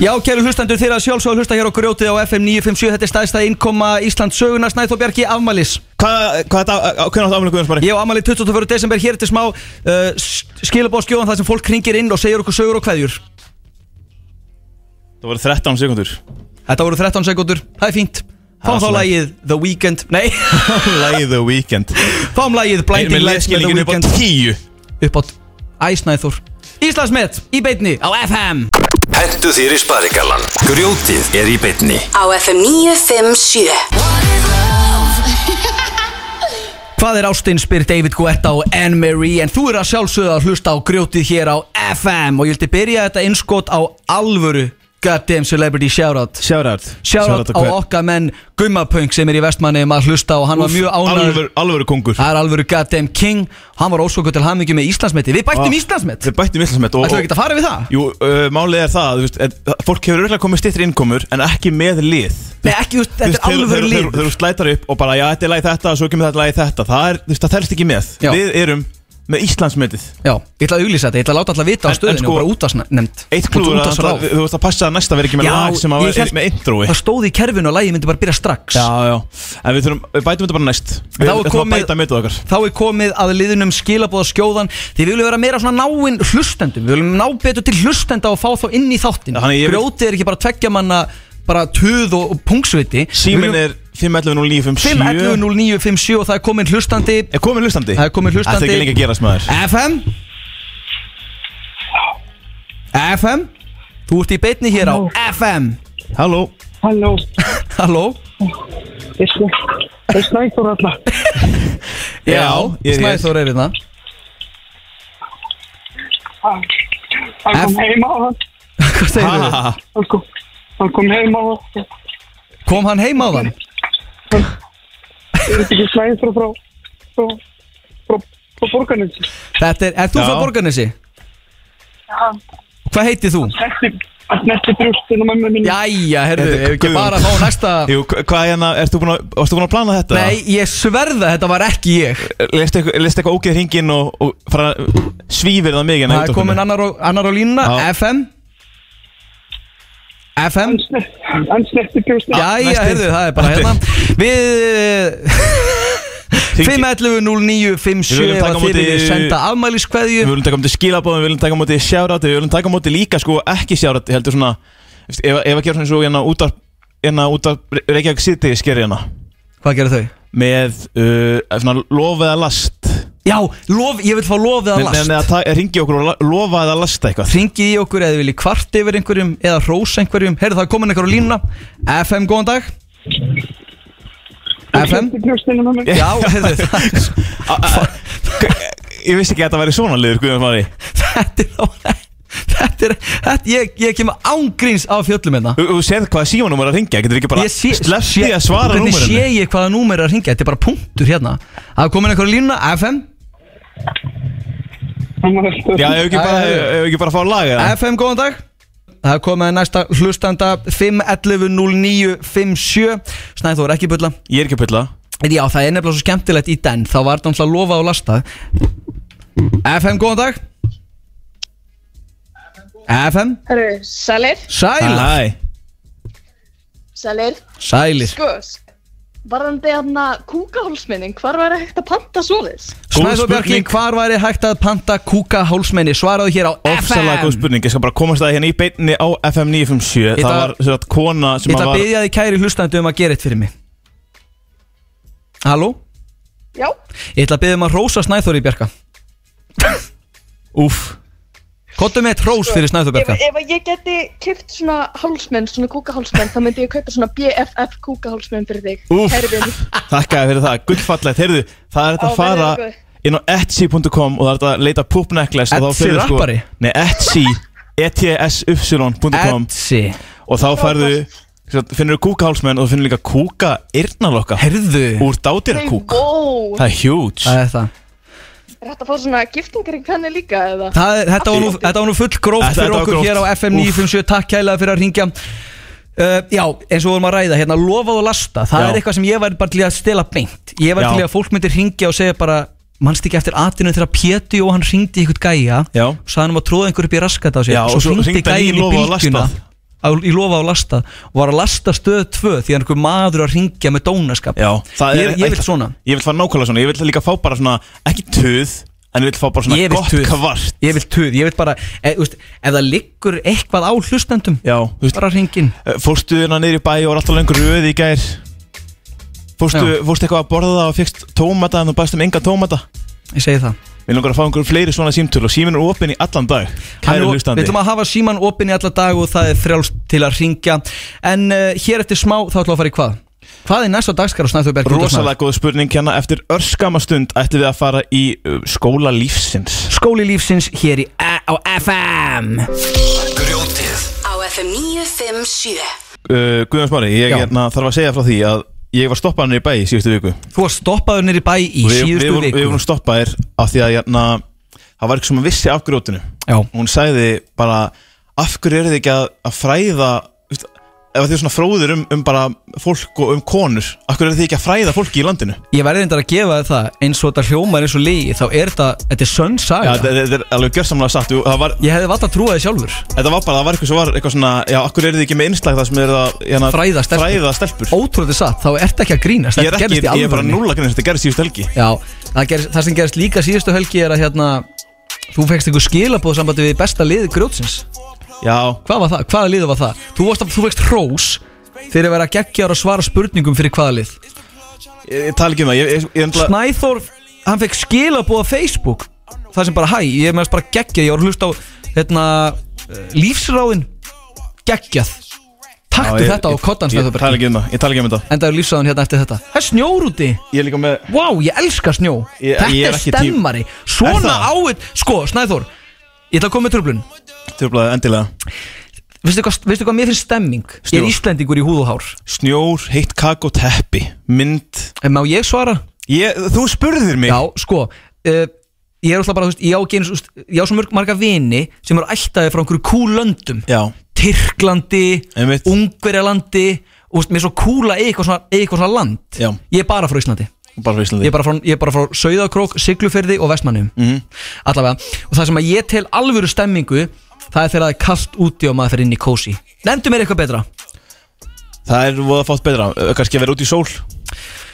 S3: Já, kæru hlustendur þeirra sjálfsög hlusta hér á grjótið á FM 957 Þetta er staðista innkoma Íslands sögunar Snæþór Bjarki afmælis
S4: Hvað, hvað þetta, hvernig áttu afmjölu Guðjónsbari?
S3: Ég á afmæli 24. desember hér eftir smá uh, skilabóðskjóðan þar sem fólk kringir inn og segir okkur sögur og kveðjur
S4: Það voru 13 sekundur
S3: Þetta voru 13 sekundur, það er fínt Fáum
S4: Það
S3: þá
S4: er
S3: lagið The Weeknd Nei,
S4: Lagið The Weekend
S3: fáum lagið Blinding Lights með The
S4: leskilningin upp á
S3: Weeknd
S4: 10
S3: Upp átt Æsnæður Íslandsmet í beitni á FM
S1: Hentu þér í sparigallan Grjótið er í beinni
S2: Á FM 957
S3: Hvað er ástinn spyr David Guetta og Anne-Marie en þú er að sjálfsögða að hlusta á grjótið hér á FM og ég vildi byrja þetta innskot á alvöru Goddamn Celebrity Shoutout
S4: Shoutout
S3: Shoutout á okkar menn Gummapunk sem er í vestmanni um að hlusta og hann var mjög ánægur
S4: Alvöru, alvöru kongur
S3: Það er alvöru Goddamn King Hann var ósvöku til hamingju með Íslandsmeti Við bættum
S4: Ah,
S3: Íslandsmet
S4: Þeir bættu mislasmet
S3: Ætlum við ekki að fara við það?
S4: Jú, uh, málið er það, að, þú veist, en, það- fólk hefur auðvitað komið stittri innkomur en ekki með lið
S3: Nei, ekki, þú veist,
S4: Þú
S3: þetta er
S4: veist, þeir-
S3: alvöru
S4: þeir-
S3: lið
S4: þeir- Þeir þú slætar upp og bara, já, þetta er lagið þetta og svo kemur þetta lagið þetta Það er, þú veist, það telst ekki með
S3: Já.
S4: Við erum með Íslandsmetið
S3: Já, ég ætla að auglýsa þetta, ég ætla að láta alla vita á
S4: En- en
S3: stöðinu
S4: sko-
S3: og bara útvarsnefnd
S4: Eitt klúður að það- þú veist að passa að næsta verið ekki með lag sem að var með introi
S3: Það stóð í kerfinu og lagið myndi bara byrja strax
S4: Já, já, en við þurfum, við bætum þetta bara næst
S3: Þá
S4: Við
S3: er
S4: þurfum að
S3: komið-
S4: bæta mitt okkar
S3: Þá er komið að liðunum skilabóða skjóðan Því við viljum vera meira svona náinn hlustendum Við viljum ná betur til hlustenda og fá þá inn í þáttin
S4: Þannig ég vil-
S3: Grjótið er ekki bara tveggja manna bara tuð og og pungsviti
S4: Símin er 511
S3: 511957 og það er komin hlustandi
S4: Er komin hlustandi?
S3: Það er komin hlustandi.
S4: Þetta er ekki lengi að gerast maður
S3: FM FM Þú ert í beinni hér á FM
S4: Halló
S10: Halló,
S3: Halló
S10: ég snæ- ég snæður alla.
S4: ég er hér.
S3: Snæður er hérna
S10: Hann kom
S3: F-
S10: heim á það,
S3: Hvað segir
S4: Ha, ha, ha.
S10: hann kom, hann kom heim á það,
S3: Kom hann heim á þann?
S10: ég veit ekki snæður frá, frá, frá, frá borganinsu.
S3: Þetta er, er þú
S4: Já.
S3: frá Borgarnesi?
S10: Já.
S3: Hvað heitir þú?
S10: Snerti, hann snerti brjóstinu mömmu mínu.
S3: Jæja, herðu,
S4: Þetta
S3: ef
S4: er
S3: ekki
S4: Guðjón.
S3: bara að fá næsta
S4: Jú, hva- hvað hérna, ertu búin að, varstu búin að plana þetta?
S3: Nei, ég sverða, þetta var ekki ég
S4: Lestu eitthvað, lestu eitthvað ógeð hringinn og, og fara, svífir það mikið
S3: Það er komin annar á, annar á línuna,
S4: Já.
S3: FM FM
S10: Hann snerti, hann snerti brjóstinu.
S3: Jæja,
S4: næsti.
S3: heyrðu, það er bara hérna eh, Við
S4: Hringi-
S3: 511-0957
S4: Við
S3: ef að
S4: viljum taka á
S3: þið
S4: móti-
S3: viljið senda afmæliskveðju
S4: Við viljum taka um til skilabóðum, við viljum taka um til sjárat Við viljum taka um til líka sko ekki sjárat Heldur svona, veist, ef, ef að gera svona eins og hérna út af Hérna út af Reykjavík City skeri hérna
S3: Hvað gerir þau?
S4: Með uh, svona lofið að last
S3: Já, lof, ég vil fá lofið að
S4: Nei, nei,
S3: last
S4: að ta- ringi okkur og la- lofa að lasta eitthvað
S3: Ringið í okkur eða þið viljið kvart yfir einhverjum eða rós einhverjum Heyrðu, það er komin einhver á línuna FM, góðan dag
S10: Hann
S3: FM
S10: snerti brjóstinu mömmu.
S3: Já, heyrðu, það er
S4: Ég vissi ekki að þetta væri svona liður Guðjón Mari
S3: Þetta er þá Þetta er, þetta, ég, ég kemur ángríns á fjöllum hérna
S4: Þú þú sérð hvaða símanúmer er að ringja Getur ekki bara
S3: Ég sé-
S4: sleppt
S3: sé-
S4: því að svara
S3: Hvernig sé
S4: númerinu
S3: ég hvaða númer er að ringja? Þetta er bara punktur hérna Það er komin einhver á línuna, FM
S10: Hann var alltaf-
S4: Já, ef ekki bara,
S3: Æ,
S4: ef ekki bara að fá laga það
S3: FM, góðan dag Það er komið að næsta hlustanda 511-0957 Snæþór, ekki bulla
S4: Ég er ekki að pilla
S3: En Já, það er nefnilega svo skemmtilegt í den Þá var þetta alltaf lofað og lastað FM, góðan dag FM
S11: Herru, sælir,
S3: Sæla
S4: Æ,
S11: sælir,
S3: Sælir
S11: sko, varðandi hérna kúkahólsminning, hvar var hægt að panta svoleiðs?
S4: Góð
S3: Snæþór Bjarki,
S4: spurning.
S3: hvar væri hægt að panta kúka hálsmenni? Svaraðu hér á
S4: Ofsalega góð
S3: FM
S4: spurning, ég skal bara komast að hérna í beinni á FM 957
S3: Ég
S4: Það
S3: ætla-
S4: var sem sagt kona sem
S3: Ég
S4: að
S3: ætla að
S4: var
S3: byggja þið kæri hlustandi um að gera eitt fyrir mig Halló?
S11: Já,
S3: Ég ætla að byggja um að rósa Snæþóri Bjarka
S4: Úf,
S3: Kottu með eitt rós fyrir
S11: ef,
S3: Snæþór Bjarka
S11: ef að ég geti kipt svona hálsminn, svona kúkahálsminn, þá myndi ég kaupa svona BFF kúkahálsminn fyrir þig.
S4: Úff.
S11: Kæri vinur.
S4: þakkaði fyrir það, gullfallegt Heyrðu, það er þetta
S11: Á,
S4: að fara
S11: verður góð.
S4: inn á etsy.com og það er þetta að leita poop necklace og þá
S3: Etsy
S4: finnurðu
S3: rappari?
S4: Nei, etsy, E etsyy.com
S3: Etsi
S4: og þá færðu sem sagt, finnurðu kúkahálsmenn og þú finnur líka kúka eyrnalokka
S3: Herðu
S4: úr dátýra kúk
S11: Wow,
S4: Það er huge
S3: Það er það
S11: er hægt að fá svona giftingaring henni líka eða?
S3: Það er, þetta, var nú, þetta var nú full gróft
S4: Þetta-
S3: fyrir
S4: þetta var
S3: okkur
S4: gróft.
S3: hér á FM 957 Takk kælega fyrir að ringja uh, Já, eins og vorum að ræða hérna Lofað og lasta, það
S4: Já.
S3: er eitthvað sem ég væri bara til í að stela beint Ég væri
S4: Já.
S3: til í að fólk myndir ringja og segja bara Manst ekki eftir atinu þegar Péti og hann ringdi ykkur gæja
S4: Já.
S3: og Sagði hann um að tróða einhver upp í raskat á sig
S4: Já, og svo
S3: hringdi
S4: hringdi hann í
S3: gæinn
S4: Lofað og
S3: bylgjuna
S4: lastað.
S3: á, Í lofa og lasta Og var að lasta stöð 2 Því að einhver maður að ringja með dónaskap
S4: Já, það
S3: Ég,
S4: er-
S3: ég vil svona
S4: Ég vil fara nákvæmlega svona, ég vil líka fá bara svona, ekki töð En ég vil fá bara svona
S3: Ég vil
S4: gott
S3: tuð.
S4: kvart
S3: Ég vil tuð, ég vil bara e, úst, Ef það liggur eitthvað á hlustendum
S4: Já, þú veist,
S3: Bara hringin
S4: Eh, Fórstu hérna niður í bæ og var alltaf lengur röð í gær Fórstu,
S3: Já.
S4: fórstu eitthvað að borða það og fegst tómata en þú bæst um enga tómata
S3: Ég segi það
S4: Við langar að fá einhverju fleiri svona símtöl og símin er opinn í allan dag Kæri
S3: Hann er- Við
S4: hlustandi
S3: ætlum að hafa síman opinn í alla dag og það er frjálst til að ringja En uh, hér eftir smá þá ætlum við að fara í hvað? Hvað er næsta dagskar á Snæþjóðberg?
S4: Rosalega góð spurning hérna Eftir örskama stund ættum við að fara í uh, skóla lífsins
S3: Skóli lífsins hér í A á FM
S1: Grjótið
S2: Á FM 957
S4: uh, Guðjón Smári, ég
S3: Já.
S4: hérna, þarf að segja frá því að ég var stoppaður niður í bæ í síðustu viku
S3: Þú var stoppaður nýri bæ í
S4: við, við,
S3: síðustu
S4: vorum-
S3: viku
S4: Við vorum stoppaðir af því að hérna, það var eitthvað sem vissi af grótinu
S3: Já,
S4: hún sagði bara af hverju eru þið ekki að, að fræða þú veist, ef þið er svona fróðir um, um bara fólk og um konur Akkur er þið ekki að fræða fólki í landinu?
S3: Ég verði reyndar að gefa þér það eins og þetta hljómar eins og lígi Þá er þetta, þetta er sönn saga
S4: Já, þetta þetta er alveg gjörsamlega satt Jú, það var,
S3: Ég hefði vant að trúa þið sjálfur
S4: Þetta var bara, það var eitthvað sem var eitthvað svona Já, akkur er þið ekki með innslag það sem er að hérna,
S3: Fræða stelpur.
S4: Fræða stelpur
S3: Ótrúlega satt, þá ertu ekki að grínast
S4: Ég er
S3: þetta
S4: ekki,
S3: gerðist í
S4: ég er bara
S3: alvörunni.
S4: nulla grunni Þetta gerðist síðust helgi
S3: Já, það, gerist, það sem gerist líka síðustu helgi er að hérna Þú fegst einhver skilabóð sambandi við besta liði grjótsins
S4: Já
S3: Hvað var það? Hvaða liði var það? Þú, varst, að- þú fegst hrós fyrir að vera geggjar að svara spurningum fyrir hvaða lið
S4: Ég, ég tala ekki um það ég, ég, ég, ég,
S3: Snæþór, hann fekk skilabóð á Facebook Það sem bara, hæ, ég meðast bara geggja Ég var að hlusta á hérna, eh, lífsráðin Geggjað Taktu þetta á kottan,
S4: Ég
S3: Snæþór
S4: tala
S3: Bergi
S4: ekki um það, ég tala ekki um það
S3: Endaður lífsráðin hérna eftir þetta Það er snjór úti
S4: Ég er líka með
S3: Vá, ég elska snjó
S4: Ég-
S3: Þetta
S4: ég er
S3: er
S4: ekki tím-
S3: stemmari
S4: Er
S3: Svona
S4: það?
S3: áið Sko, Snæþór Ég ætla að koma með tröflun
S4: Tröflaði endilega
S3: Veistu hvað, veistu hvað mér finnst stemming? Ég er
S4: Snjór.
S3: Íslendingur í húð og hár
S4: Snjór, heitt kakó, teppi, mynd
S3: En má ég svara?
S4: ég, Þú spurðir mig
S3: Já, sko uh, Ég er alltaf bara, þú veist Ég á, genus, úst, ég á svo mörg marga vini Sem eru ættaði frá einhverju kúlöndum
S4: Já,
S3: Tyrklandi
S4: Einmitt.
S3: Ungverjalandi Og þú veist, mér er svo kúla í eitthvað svona, eitthvað svona land
S4: Já.
S3: Ég er bara frá Íslandi
S4: bara fyrir
S3: Ég
S4: Íslandi
S3: er bara frá, ég er bara frá Sauðakrók, Siglufyrði og Vestmannum
S4: Mhm.
S3: Allavega Og það sem að ég tel alvöru stemmingu Það er þegar það er kallt úti og maður fyrir inn í kósi Nendu mér eitthvað betra
S4: Það er voða fátt betra Ö, kannski að vera út í sól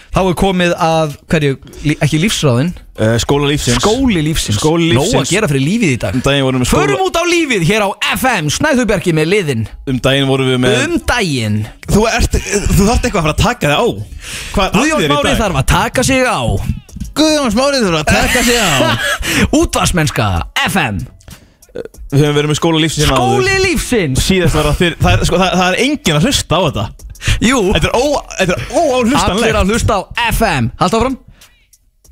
S3: Þá er komið að, hverju, lí- ekki lífsráðin
S4: uh, Skóla lífsins
S3: Skóli lífsins
S4: Skóli
S3: Nó
S4: lífsins.
S3: að gera fyrir lífið í dag
S4: Um daginn vorum við skóla
S3: Förum út á lífið hér á FM Snæðubergi með liðin
S4: Um daginn vorum við með
S3: Um daginn
S4: Þú, ert, þú þarft eitthvað að fara að taka þig á Hvað er að
S3: Guðjón
S4: þér í
S3: Mári
S4: dag?
S3: þarf að taka sig á
S4: Guðjóns Márið þurfa að taka sig á
S3: Útvarsmennska FM
S4: Við höfum verið með skóla lífsins hérna áður.
S3: Skóli lífsins
S4: Síðast var það fyrir það er, sko, það, það er engin að hlusta á þetta
S3: Jú,
S4: Þetta er, ó, þetta er
S3: allir
S4: óáhlustanlegt
S3: að hlusta á FM Hallt áfram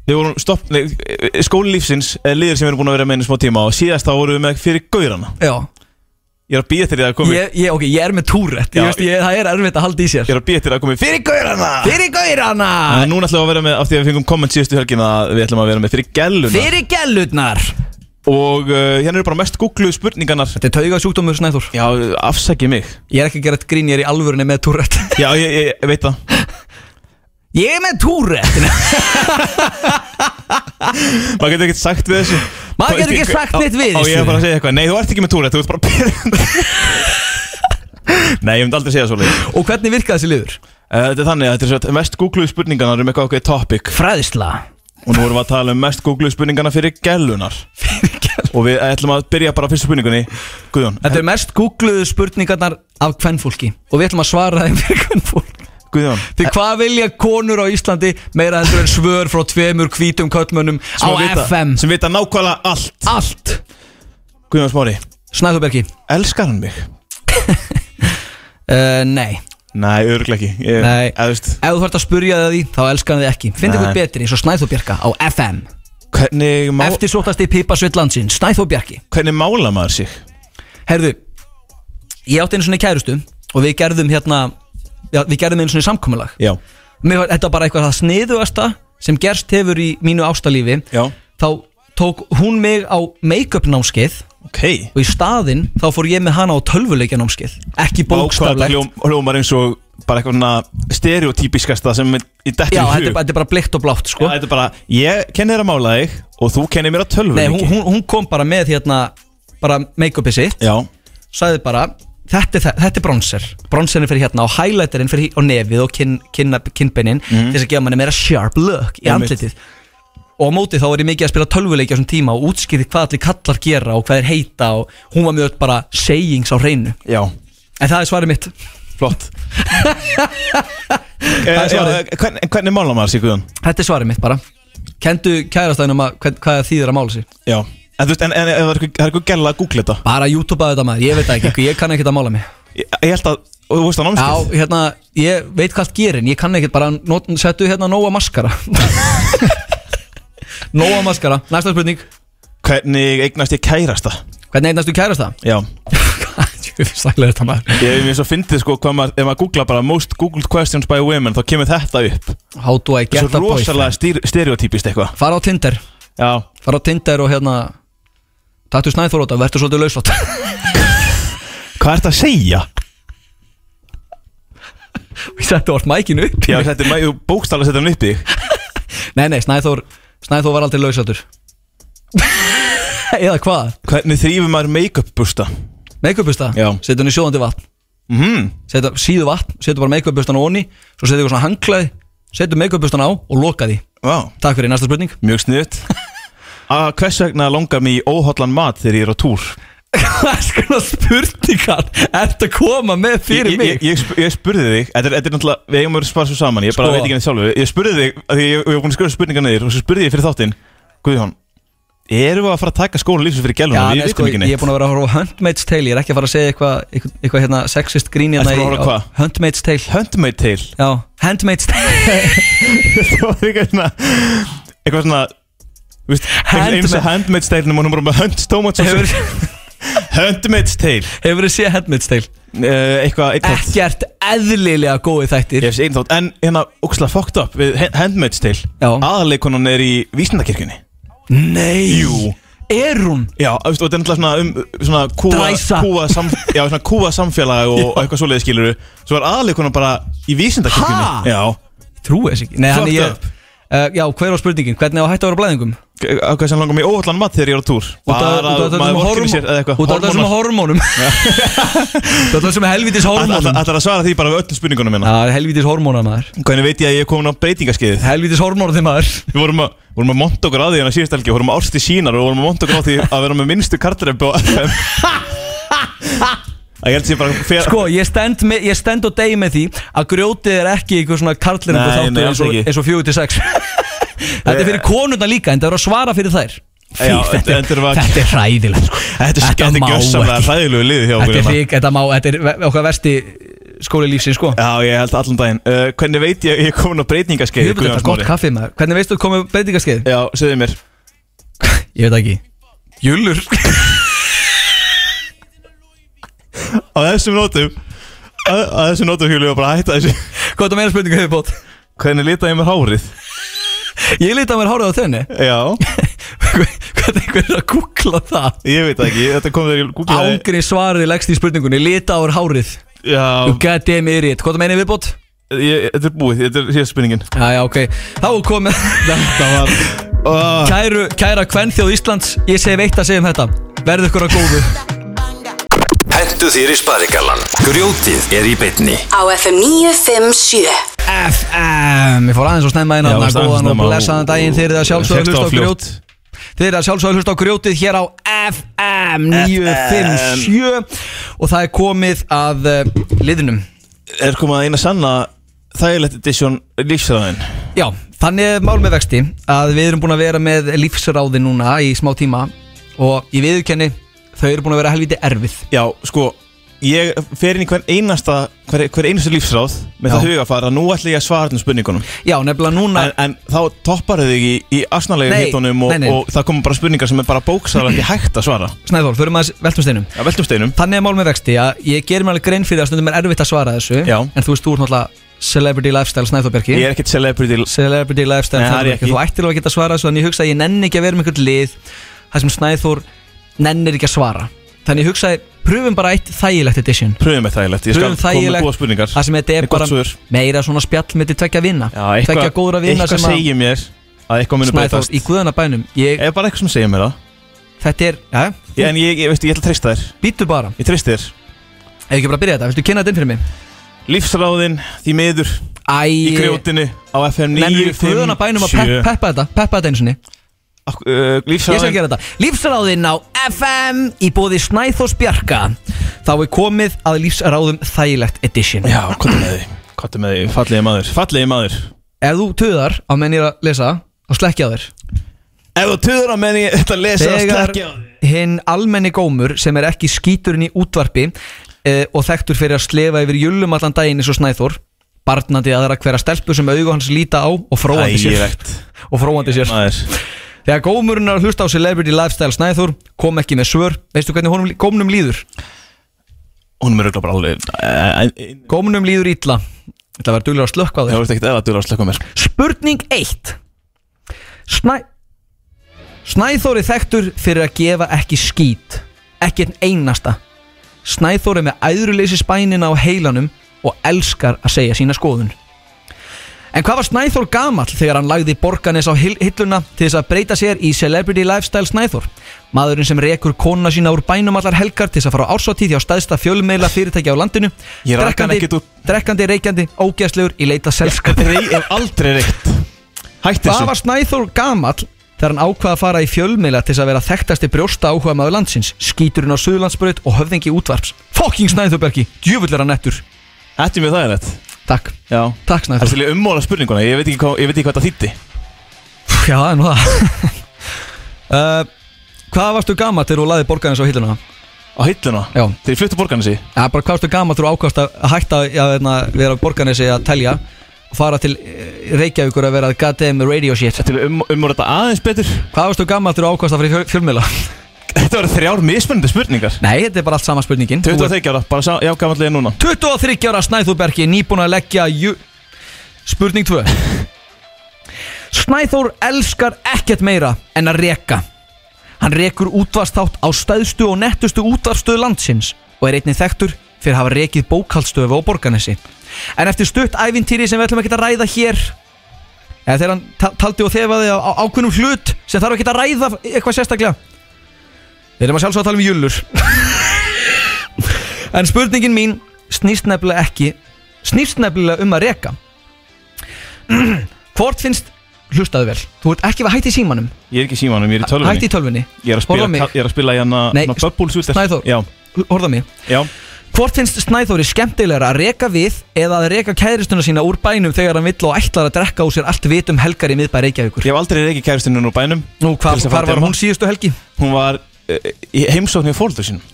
S4: Við vorum stopp, nei, eh, skóli lífsins er liður sem við erum búin að vera með einu smá tíma og síðast þá vorum við með fyrir gaurana
S3: Já
S4: Ég er að býja til það að komi
S3: ég, ég, ok, ég er með túrætt ég
S4: Já.
S3: veist, ég, það er erfitt að halda í sér
S4: Ég er að býja til það að komi fyrir gaurana
S3: fyrir gaurana
S4: En núna ætlum við að vera með, af því að við fengum komment síðustu helgina að við ætlum að vera með fyrir gæluna
S3: fyrir gælutnar
S4: Og uh, hérna eru bara mest googluðu spurningarnar
S3: þetta er taugað sjúkdómur snæður
S4: Já, afsækið mig
S3: ég er ekki að gera þetta grín, ég er í alvörunni með túrætt
S4: Já, ég, ég, ég veit það
S3: ég er með túrætt
S4: Maður getur ekkert sagt við þessu
S3: Maður getur ekki sagt neitt við
S4: þessu Á
S3: þessu.
S4: ég er bara að segja eitthvað Nei, þú ert ekki með túrætt, þú ert bara að byrja Nei, ég myndi aldrei segja svo leið
S3: og hvernig virka þessi liður?
S4: Þetta er þannig að þetta er svo mest googluðu spurningarnar um eitthvað okkur topic
S3: fræðisla
S4: Og nú vorum við að tala um mest googluðu spurningarnar fyrir gælunar
S3: fyrir gæl
S4: Og við ætlum að byrja bara á fyrstu spurningunni Guðjón,
S3: þetta er mest googluðu spurningarnar af kvennfólki og við ætlum að svara þeim fyrir kvennfólk
S4: Guðjón
S3: því hvað vilja konur á Íslandi meira heldur en svör frá tveimur hvítum köllmönnum á
S4: sem að vita-
S3: FM
S4: Sem vita nákvæmlega allt
S3: allt
S4: Guðjón Smári,
S3: Snæðurbergi
S4: elskar hann mig?
S3: uh, nei
S4: Nei, örglega ekki ég,
S3: Nei.
S4: eða, þú veist,
S3: Ef þú þarft að spurja það því, þá elskar hann þið ekki Finn
S4: Nei.
S3: ykkur betri eins og Snæþó Bjarka á FM
S4: Hvernig, má,
S3: Eftir sótast í Pipasveit landsinn, Snæþó Bjarki
S4: hvernig mála maður sig?
S3: Herðu, ég átti einu svona kærustu Og við gerðum hérna já, Við gerðum einu svona samkomulag
S4: Já,
S3: Mér var þetta var bara eitthvað það sniðugasta Sem gerst hefur í mínu ástalífi
S4: Já.
S3: Þá tók hún mig á make-up námskeið
S4: ok
S3: Og í staðinn þá fór ég með hana á tölvuleikja námskeið Ekki
S4: Bókstaflegt
S3: bókstaflegt
S4: hljóm, Hljómar eins og bara eitthvað svona stereotypiskasta sem er í dettur
S3: Já,
S4: í
S3: þetta er,
S4: hug
S3: bara- þetta er bara blikt og blátt sko
S4: Já, Þetta er bara, ég kenni þér að mála þig og þú kenni mér að tölvu
S3: Nei, hún, hún, hún kom bara með hérna Bara make-upið sitt
S4: Já,
S3: sagði bara þetta er, þa- þetta er bronser, bronserinn fyrir hérna og highlighterinn fyrir á nefið og kinn, kinna, kinnbeinin til þess að gefa manni meira sharp look í
S4: Einmitt.
S3: andlitið og á móti þá var ég mikið að spila tölvuleiki á þessum tíma og útskýði hvað allir kallar gera og hvað er heita og hún var mjög bara sayings á hreinu
S4: já,
S3: en það er svarið mitt
S4: flott
S3: Það er
S4: Eh, já,
S3: svarið.
S4: eh, hvern- en Hvernig mála maður sig, Guðan?
S3: þetta er svarið mitt bara kendu kærastæðinum að hvað, hvað þýðir að mála sig
S4: Já En þú veist, en, en, en það er eitthvað- það er eitthvað gæla að googla þetta
S3: bara YouTube að þetta maður, ég veit það ekki, eitthvað, ég kann ekkert að mála mig
S4: Ég, ég held að, og þú veist það
S3: já,
S4: námskeið
S3: hérna, ég veit hvað allt gerir en ég kann ekkert bara not, settu hérna nóa maskara nóa maskara, næsta spurning
S4: Hvernig eignast ég kærasta?
S3: Hvernig eignastu kærast það?
S4: Já
S3: Sælega þetta maður
S4: Ég hef mér svo fyndið sko hvað maður, ef maður googla bara most googled questions by women þá kemur þetta upp
S3: How do I get
S4: Svo
S3: a boyfriend?
S4: rosalega styr, stereotypist eitthvað
S3: Fara á Tinder
S4: Já,
S3: Fara á Tinder og hérna Taktu snæðþóróta, verður svolítið lauslátt
S4: hvað ert að segja?
S3: og ég setti orð mækinu upp
S4: Já, þetta er mæðu bókstala að setja hann upp í þig.
S3: Nei, nei, Snæþór, Snæþór var aldrei lausaldur Eða hvað?
S4: Hvernig þrýfum maður make-up busta?
S3: Make-up busta?
S4: Já
S3: Setja hann í sjóðandi vatn
S4: mm -hmm.
S3: setja, Síðu vatn, setja bara make-up bustan á onni Svo setja ykkur svona hanglaði Setja make-up bustan á og loka því
S4: wow.
S3: Takk fyrir, næsta spurning
S4: Mjög sniðut að Ah, Hvers vegna langar mig í óhóllan mat þegar ég er á túr?
S3: Hvað skona spurningar Ertu að koma með fyrir
S4: Ég-
S3: mig?
S4: Ég, ég, sp- ég spurði þig, þetta er, þetta er náttúrulega, við eigum að spara svo saman, ég bara
S3: Sko.
S4: veit ekki henni sjálfu Ég spurði þig, af því ég, ég var búin að skrifa spurningar niður og svo spurði ég fyrir þáttinn Guðjón, erum við að fara að taka skóla lífsins fyrir gæluna?
S3: Já,
S4: við
S3: nei, sko, ég
S4: vitum ekki
S3: er
S4: neitt
S3: búin að vera að horfa á Handmaid's Tale Ég er ekki að fara að segja eitthvað eitthvað, eitthvað hérna, sexist grín hérna
S4: Ertu búin að
S3: í-
S4: horfa á hvað?
S3: Handmaid's Tale
S4: Handmaid's Tale?
S3: Já, Handmaid's Tale
S4: Það var eitthvað svona Eitthvað svona þú veist, Eins og Handmaid's Tale nema hún er bara með Hunt Stomach
S3: Hefur-
S4: Handmaid's Tale
S3: Hefur þið séð Handmaid's Tale?
S4: Uh, eitthvað eitt þátt
S3: Ekkert eðlilega góði þættir
S4: Ég hef séð einn þátt En hérna, ókslega fucked up við Hand- Handmaid's Tale Aðaleikonan er í Vísindakirkjunni
S3: Nei
S4: Jú
S3: Er hún?
S4: Já, þú veist, og þetta er náttúrulega svona, um, svona kúa,
S3: Dræsa.
S4: kúa sam, Já, svona kúa samfélag og, og eitthvað svoleiði skiluru Svo er aðaleikonan bara í
S3: Ha?
S4: Vísindakirkjunni Já
S3: Trú þess ekki Nei, hann
S4: Fucked
S3: ég
S4: up
S3: uh, Já, hver var spurningin? Hvernig á að hætta að vera á blæðingum?
S4: Á hvað sem langar mig óallan mat þegar ég er á túr
S3: Út af-
S4: Bara
S3: út af þessum
S4: að maður vorkenni
S3: hormón-
S4: sér eða eitthvað
S3: Út af þessum hormónum Þetta er sem helvitis hormónum
S4: Það er að svara því bara við öllum spurningunum minna
S3: Já, helvitis hormóna maður
S4: Hvernig veit ég að ég er komin á breytingaskeiðið?
S3: Helvitis hormóna þið maður
S4: Við vorum að, vorum að monta okkur að því hérna síðust helgi Vorum að orsti sínar og vorum að monta okkur á því að vera með minnstu kartrepp og FM Að ég held sér bara fer,
S3: Sko, ég stend, með, ég stend og degi með því að grjótið er ekki einhver svona karliringu
S4: Nei, nei,
S3: þáttur eins
S4: alls
S3: og,
S4: ekki. Eh.
S3: eins og 4-6 Þetta er fyrir konurna líka en það er að svara fyrir þær Fí,
S4: Já,
S3: þetta,
S4: þetta er
S3: er,
S4: var-
S3: þetta er hræðilegt sko.
S4: Þetta er
S3: má
S4: skemmt ekki össamlega
S3: ekki.
S4: hræðilegu liði hjá okkur
S3: Þetta er
S4: hérna.
S3: rík, þetta má, þetta er ve- okkar versti skóli lífsins sko
S4: Já, ég held allan daginn uh, Hvernig veit ég að ég er komin á breytingaskeið
S3: Jöfull, þetta er gott kaffið maður Hvernig veistu þú komið breytingaskeið?
S4: Já, segðu mér
S3: Ég veit það ekki Jullur
S4: Á þessum nótum Á á þessum nótum hjólu ég bara að hætta þessu
S3: Hvað er það meira spurningu hefur bótt?
S4: Hvernig lita ég mér hárið?
S3: Ég lítið að mér hárið á þenni
S4: Já
S3: Hvernig einhver er að kúkla það?
S4: Ég veit það ekki, þetta kom þegar ég googlaði
S3: Ángri svariði leggst í spurningunni Lita á þér hárið
S4: Já,
S3: You goddamn idiot Hvað það meina viðbót?
S4: ég, þetta er búið, þetta er síðast spurningin
S3: Já, já, ok Þá er komið
S4: Þetta var oh,
S3: Kæru, kæra kvennþjóð Íslands Ég segi veitt að segja um þetta Verðu ykkur að góðu
S1: Hentu þér í sparigallan Grjótið er í beinni
S2: Á FM 957
S3: FM Ég fór aðeins og snemma inn
S4: Já,
S3: að
S4: aðeins og
S3: góðan og
S4: snemma og-
S3: blessaðan daginn Þeir eru að sjálfsögðu að
S4: Fékkstu
S3: hlusta á
S4: það fljótt.
S3: grjót Þeir eru að sjálfsögðu að hlusta á grjótið hér á FM 957 Og það er komið að uh, liðnum
S4: Er komið að eina sanna þægilegt edition lífsræðin
S3: Já, þannig er mál með vexti að við erum búin að vera með lífsráði núna í smá tíma og ég viðurkenni þau eru búin að vera helviti erfið
S4: Já, sko, ég fer inn í hver einasta hver, hver einustu lífsráð með það
S3: Já.
S4: hugafar að nú ætla ég að svara þarna spurningunum
S3: Já, nefnilega núna
S4: en, en þá toppar þau þig í, í asnalegum
S3: Nei,
S4: hittunum og,
S3: nei, nei.
S4: og það koma bara spurningar sem er bara bóksalega hægt að svara
S3: Snæðól, förum að veltum steinum
S4: Já, veltum steinum
S3: Þannig er mál með vexti að ég gerir mér alveg grein fyrir að stundum er erfitt að svara þessu
S4: Já.
S3: En þú veist, þú ert náttúrulega celebrity lifestyle Snæðólbergi
S4: Ég er ekkert celebrity
S3: Celebrity lifestyle
S4: Nei, það er
S3: Snæþórbergi.
S4: ég ekki.
S3: Þú ættir alveg að geta svara þessu Þannig ég hugsa að ég nenni ekki að vera með einhvern lið Það sem Snæðól nennir ekki að svara Þannig ég hugsa pröfum bara eitt þægilegt edition
S4: Pröfum með þægilegt Ég skal
S3: Pröfum
S4: koma með góða
S3: þægilegt
S4: spurningar
S3: Það sem þetta er
S4: Með gott
S3: bara
S4: svör.
S3: meira svona spjall með til tvekja vinna
S4: Já, eitthvað-
S3: Tvekja góðra vinna
S4: Eitthvað
S3: sem að
S4: segir mér að eitthvað muni
S3: Snæþór
S4: breytast
S3: í guðana bænum ég,
S4: Ég er bara eitthvað sem segir mér það
S3: Þetta er, já,
S4: En ég, ég veistu, ég ætla að treysta þér
S3: býttu bara
S4: Ég treysti þér
S3: Ef ekki bara að byrja þetta, viltu kynna þetta inn fyrir mig?
S4: Lífsráðin, því miður
S3: Æ,
S4: Í grjótinu á FM
S3: nennir í guðana bænum að pep,
S4: 957
S3: peppa þetta Peppa þetta einu sinni,
S4: uh,
S3: ég skal
S4: Lífsráðin
S3: gera þetta Lífsráðinn á FM í bóði Snæþórs Bjarka Þá er komið að lífsráðum þægilegt edition
S4: Já, hvað er með því? Hvað er með því? Fallegi maður Fallegi maður
S3: Ef þú töðar á menn ég er að lesa og slekkja á þér
S4: Ef þú töður á menni Þetta lesa að
S3: Þegar
S4: slekja á því
S3: hinn almenni gómur sem er ekki skíturinn í útvarpi eh, og þekktur fyrir að slefa yfir jullum allan daginn eins og snæþór barnandi aðra hverja stelpu sem augu hans líta á og fróandi sér,
S4: Ægilegt
S3: og fróandi sér.
S4: Maður
S3: Þegar gómurinn er að hlusta á Celebrity Lifestyle Snæþór kom ekki með svör veistu hvernig honum, gómnum líður?
S4: Hún er auðvitað bara alveg eh, eh,
S3: Gómnum líður illa Þetta var duglega að slökka á
S4: Ég
S3: þér
S4: veist ekkert eða að duður að slekka á mér
S3: Spurning 1 Snæ... Snæþór er þekktur fyrir að gefa ekki skít Ekki einn einasta Snæþór er með æðruleysi spænina á heilanum og elskar að segja sína skoðun. En hvað var Snæþór gamall þegar hann lagði borganes á hill- hilluna til þess að breyta sér í Celebrity Lifestyle Snæþór? Maðurinn sem rekur konuna sína úr bænum allar helgar til þess að fara á ársatíð hjá stæðsta fjölmeila fyrirtæki á landinu
S4: Ég rak hann
S3: Drekkandi-
S4: ekkert úr-
S3: Drekkandi, reykjandi, ógæðslegur í leita selskap
S4: Ég hef aldrei reykt
S3: Hvað
S4: Hætti þessu
S3: var Snæþór gamall þegar hann ákvað að fara í fjölmiðla til þess að vera þekktasti brjósta áhuga maður landsins, skíturinn á Suðurlandsbröð og höfðingi útvarps. Fucking Snæþór Bergi, djöfull er hann nettur.
S4: Þetta er mjög þægilegt
S3: Takk
S4: Já
S3: Takk
S4: Það er
S3: Snæþór.
S4: til í ummóla spurninguna Ég veit ekki hvað, ég veit ekki hvað það þýtti
S3: Pff, Já, það er nú það. uh, hvað varstu gamall þegar þú laði borgarins á hilluna?
S4: Á hilluna?
S3: Já.
S4: Þegar ég fluttu borgarnesi?
S3: Já, bara hvað varstu gamall þegar þú ákvæmst að hætta að hérna, vera á borgarnesi að telja og fara til eh, Reykjavíkur að vera goddamn radio shit.
S4: Til um, ummóla þetta aðeins betur
S3: Hvað varstu gamall þegar þú ákvæmst að fara í fjöl- fjölmiðla?
S4: Þetta var þrjár mismunandi spurningar
S3: Nei, þetta er bara allt sama spurningin. Þú ert-
S4: 23 ára, bara sá, já, gamanlega núna
S3: 23 ára Snæþórbergi nýbúin að leggja ju... Spurning 2 Snæþór elskar ekkert meira en að reka Hann rekur útvarsþátt á stæðstu og nettustu útvarsstöðu landsins og er einnig þekktur fyrir að hafa rekið bókaldstöfu á borganesi En eftir stutt ævintýri sem við ætlum ekki að ræða hér eða þegar hann ta- taldi og þefaði á á ákveðnum hlut sem þarf ekki að ræða eitthvað sérstaklega Við erum að sjálfsög að tala um jullur En spurningin mín snýst nefnilega ekki Snýst nefnilega um að reka Hvort finnst Hlustaðu vel, þú ert ekki að hætti símanum
S4: Ég er ekki í símanum, ég er í tölvunni
S3: Hætti í tölvunni
S4: Ég er að spila,
S3: Horfa á mig.
S4: ég er að spila í hana
S3: Nei,
S4: hana Bubbles út eftir-
S3: Snæþór.
S4: Já,
S3: Horða mig
S4: já
S3: Hvort finnst Snæþóri skemmtilegra að reka við eða að reka kæristuna sína úr bænum þegar hann vill og ætlar að drekka úr sér allt vit um helgar í miðbæ Reykjavíkur
S4: Ég hef aldrei reikið kæristinu úr bænum
S3: Nú,
S4: Til
S3: hvar,
S4: þess að
S3: hvar
S4: fara
S3: var
S4: til
S3: hún síðustu helgi?
S4: Hún var eh, í heimsókn hjá fólöldur sínum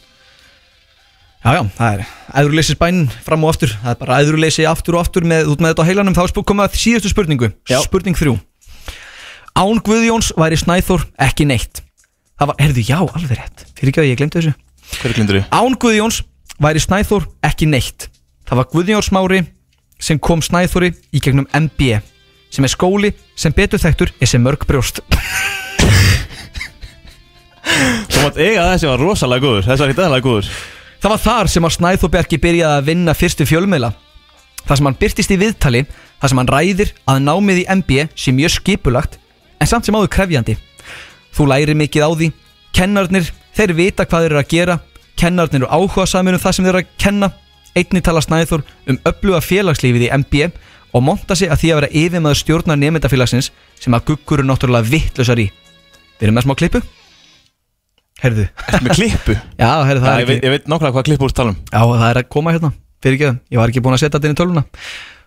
S3: Já, já, það er æðurleysis bænin fram og aftur Það er bara æðurleysi aftur og aftur með, út með þetta á heilanum Þá er spú- komið að síðustu spurningu
S4: Já.
S3: Spurning þrjú Án Guðjóns væri Snæþór ekki neitt Það var, heyrðu, já, alveg rétt Fyrir ekki að ég glemdi þessu
S4: Hverju glindur þú?
S3: Án Guðjóns væri Snæþór ekki neitt Það var Guðjóns Mári sem kom Snæþóri í gegnum MBE sem er skóli sem betur þekktur er sem mörg brjóst
S4: Þú mátt eiga þessi var rosalega góður Þessi var ekki aðalega góður
S3: Það var þar sem að Snæþór Bjarki byrjaði að vinna fyrstu fjölmiðla. Þar sem hann byrtist í viðtali, þar sem hann ræðir að námið í MBA sé mjög skipulagt, en samt sem áður krefjandi. Þú lærir mikið á því, kennarnir, þeir vita hvað þeir eru að gera, kennarnir eru áhuga saman um það sem þeir eru að kenna, einnig tala Snæþór um öfluga félagslífið í MBA og monta sig að því að vera yfirmaður stjórnar nefndafélagsins sem að guggur eru náttúrulega vittlusar í. Við erum með smá klippu? Herðu.
S4: Ertu með klippu?
S3: Já, herðu, það
S4: Já,
S3: er
S4: ég,
S3: ekki...
S4: veit, ég veit nokkla hvað klippu úr um. talum
S3: Já, það er að koma hérna Fyrir ekki það, ég var ekki búin að setja þetta inn í tölvuna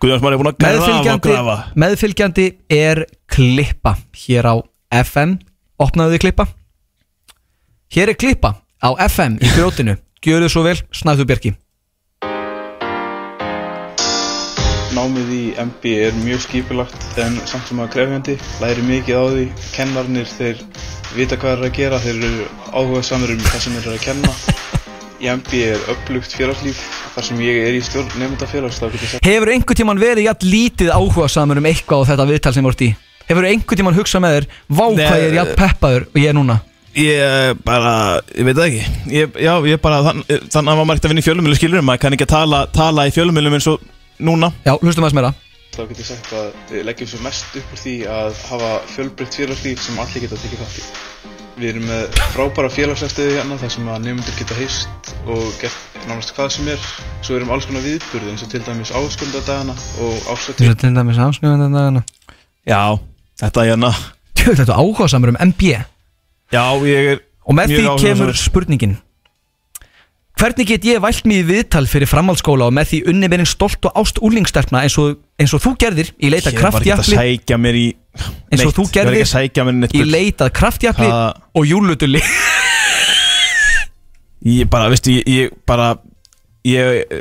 S4: Guðjóns Már er búin að grafa og
S3: Meðfylgjandi,
S4: grafa
S3: meðfylgjandi er klippa Hér á FM Opnaðu þið klippa Hér er klippa á FM í grjótinu Gjöru þið svo vel, snæðu Björki
S12: Námið í MB er mjög skipulagt en samt sem að krefjandi, læri mikið á því, kennarnir þeir vita hvað þeir eru að gera, þeir eru áhuga samir um það sem þeir eru að kenna. Í MB er upplugt félagslíf, þar sem ég er í stjórn nefnda félags, þá getur ég sagt
S3: Hefur einhvern tímann verið jætt lítið áhuga samur um eitthvað á þetta viðtal sem vort í? Hefur einhvern tímann hugsað með þér Vá hvað ég er jætt peppaður og ég er núna
S4: Ég eh, bara, ég veit það ekki ég, Já, ég bara, þann, eh, þannig að maður ekkert að vinna í fjölumilum skilur Maður kann ekki að tala, tala í fjölumilum eins og núna
S3: Já, hlustum að smera
S12: þá get ég sagt að við leggjum svo mest upp úr því að hafa fjölbreytt félagslíf sem allir geta tekið þátt í. Við erum með frábæra félagslegstöðu hérna þar sem að nefndur geta heist og gert nánast hvað sem er. Svo erum alls konar viðburði eins og til dæmis áskundadagana og
S3: Þú
S12: ásatið.
S3: sér til dæmis afskjöfum þetta dagana
S4: Já, þetta er hérna
S3: Tjöld, þetta áhuga samur um MBA
S4: Já, ég er
S3: Og með
S4: mjög
S3: því
S4: áhugasamur.
S3: kemur spurningin Hvernig get ég vælt mig í viðtal fyrir framhaldsskóla og með því unni meirinn stolt og ást úlingstelpna eins og, eins og þú gerðir í leita
S4: Ég var ekki að
S3: kraftjafli
S4: sækja mér í
S3: eins og
S4: neitt.
S3: þú
S4: Ég var
S3: gerðir
S4: ekki að sækja mér í neitt
S3: í
S4: bull.
S3: leitað kraftjafli
S4: Það-
S3: og júlutulli
S4: Ég bara, veistu, ég, ég bara Ég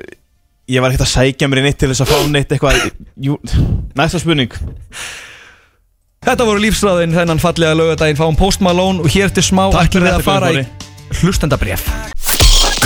S4: Ég var ekkert að sækja mér í neitt til þess að fá neitt eitthvað Jú, næsta spurning
S3: Þetta voru lífsræðin þennan fallega lögadaginn fáum Post Malone og hér til smá
S4: Takk fyrir
S3: ætlum við að fara
S4: þetta, Guðjón
S3: í hlustendabref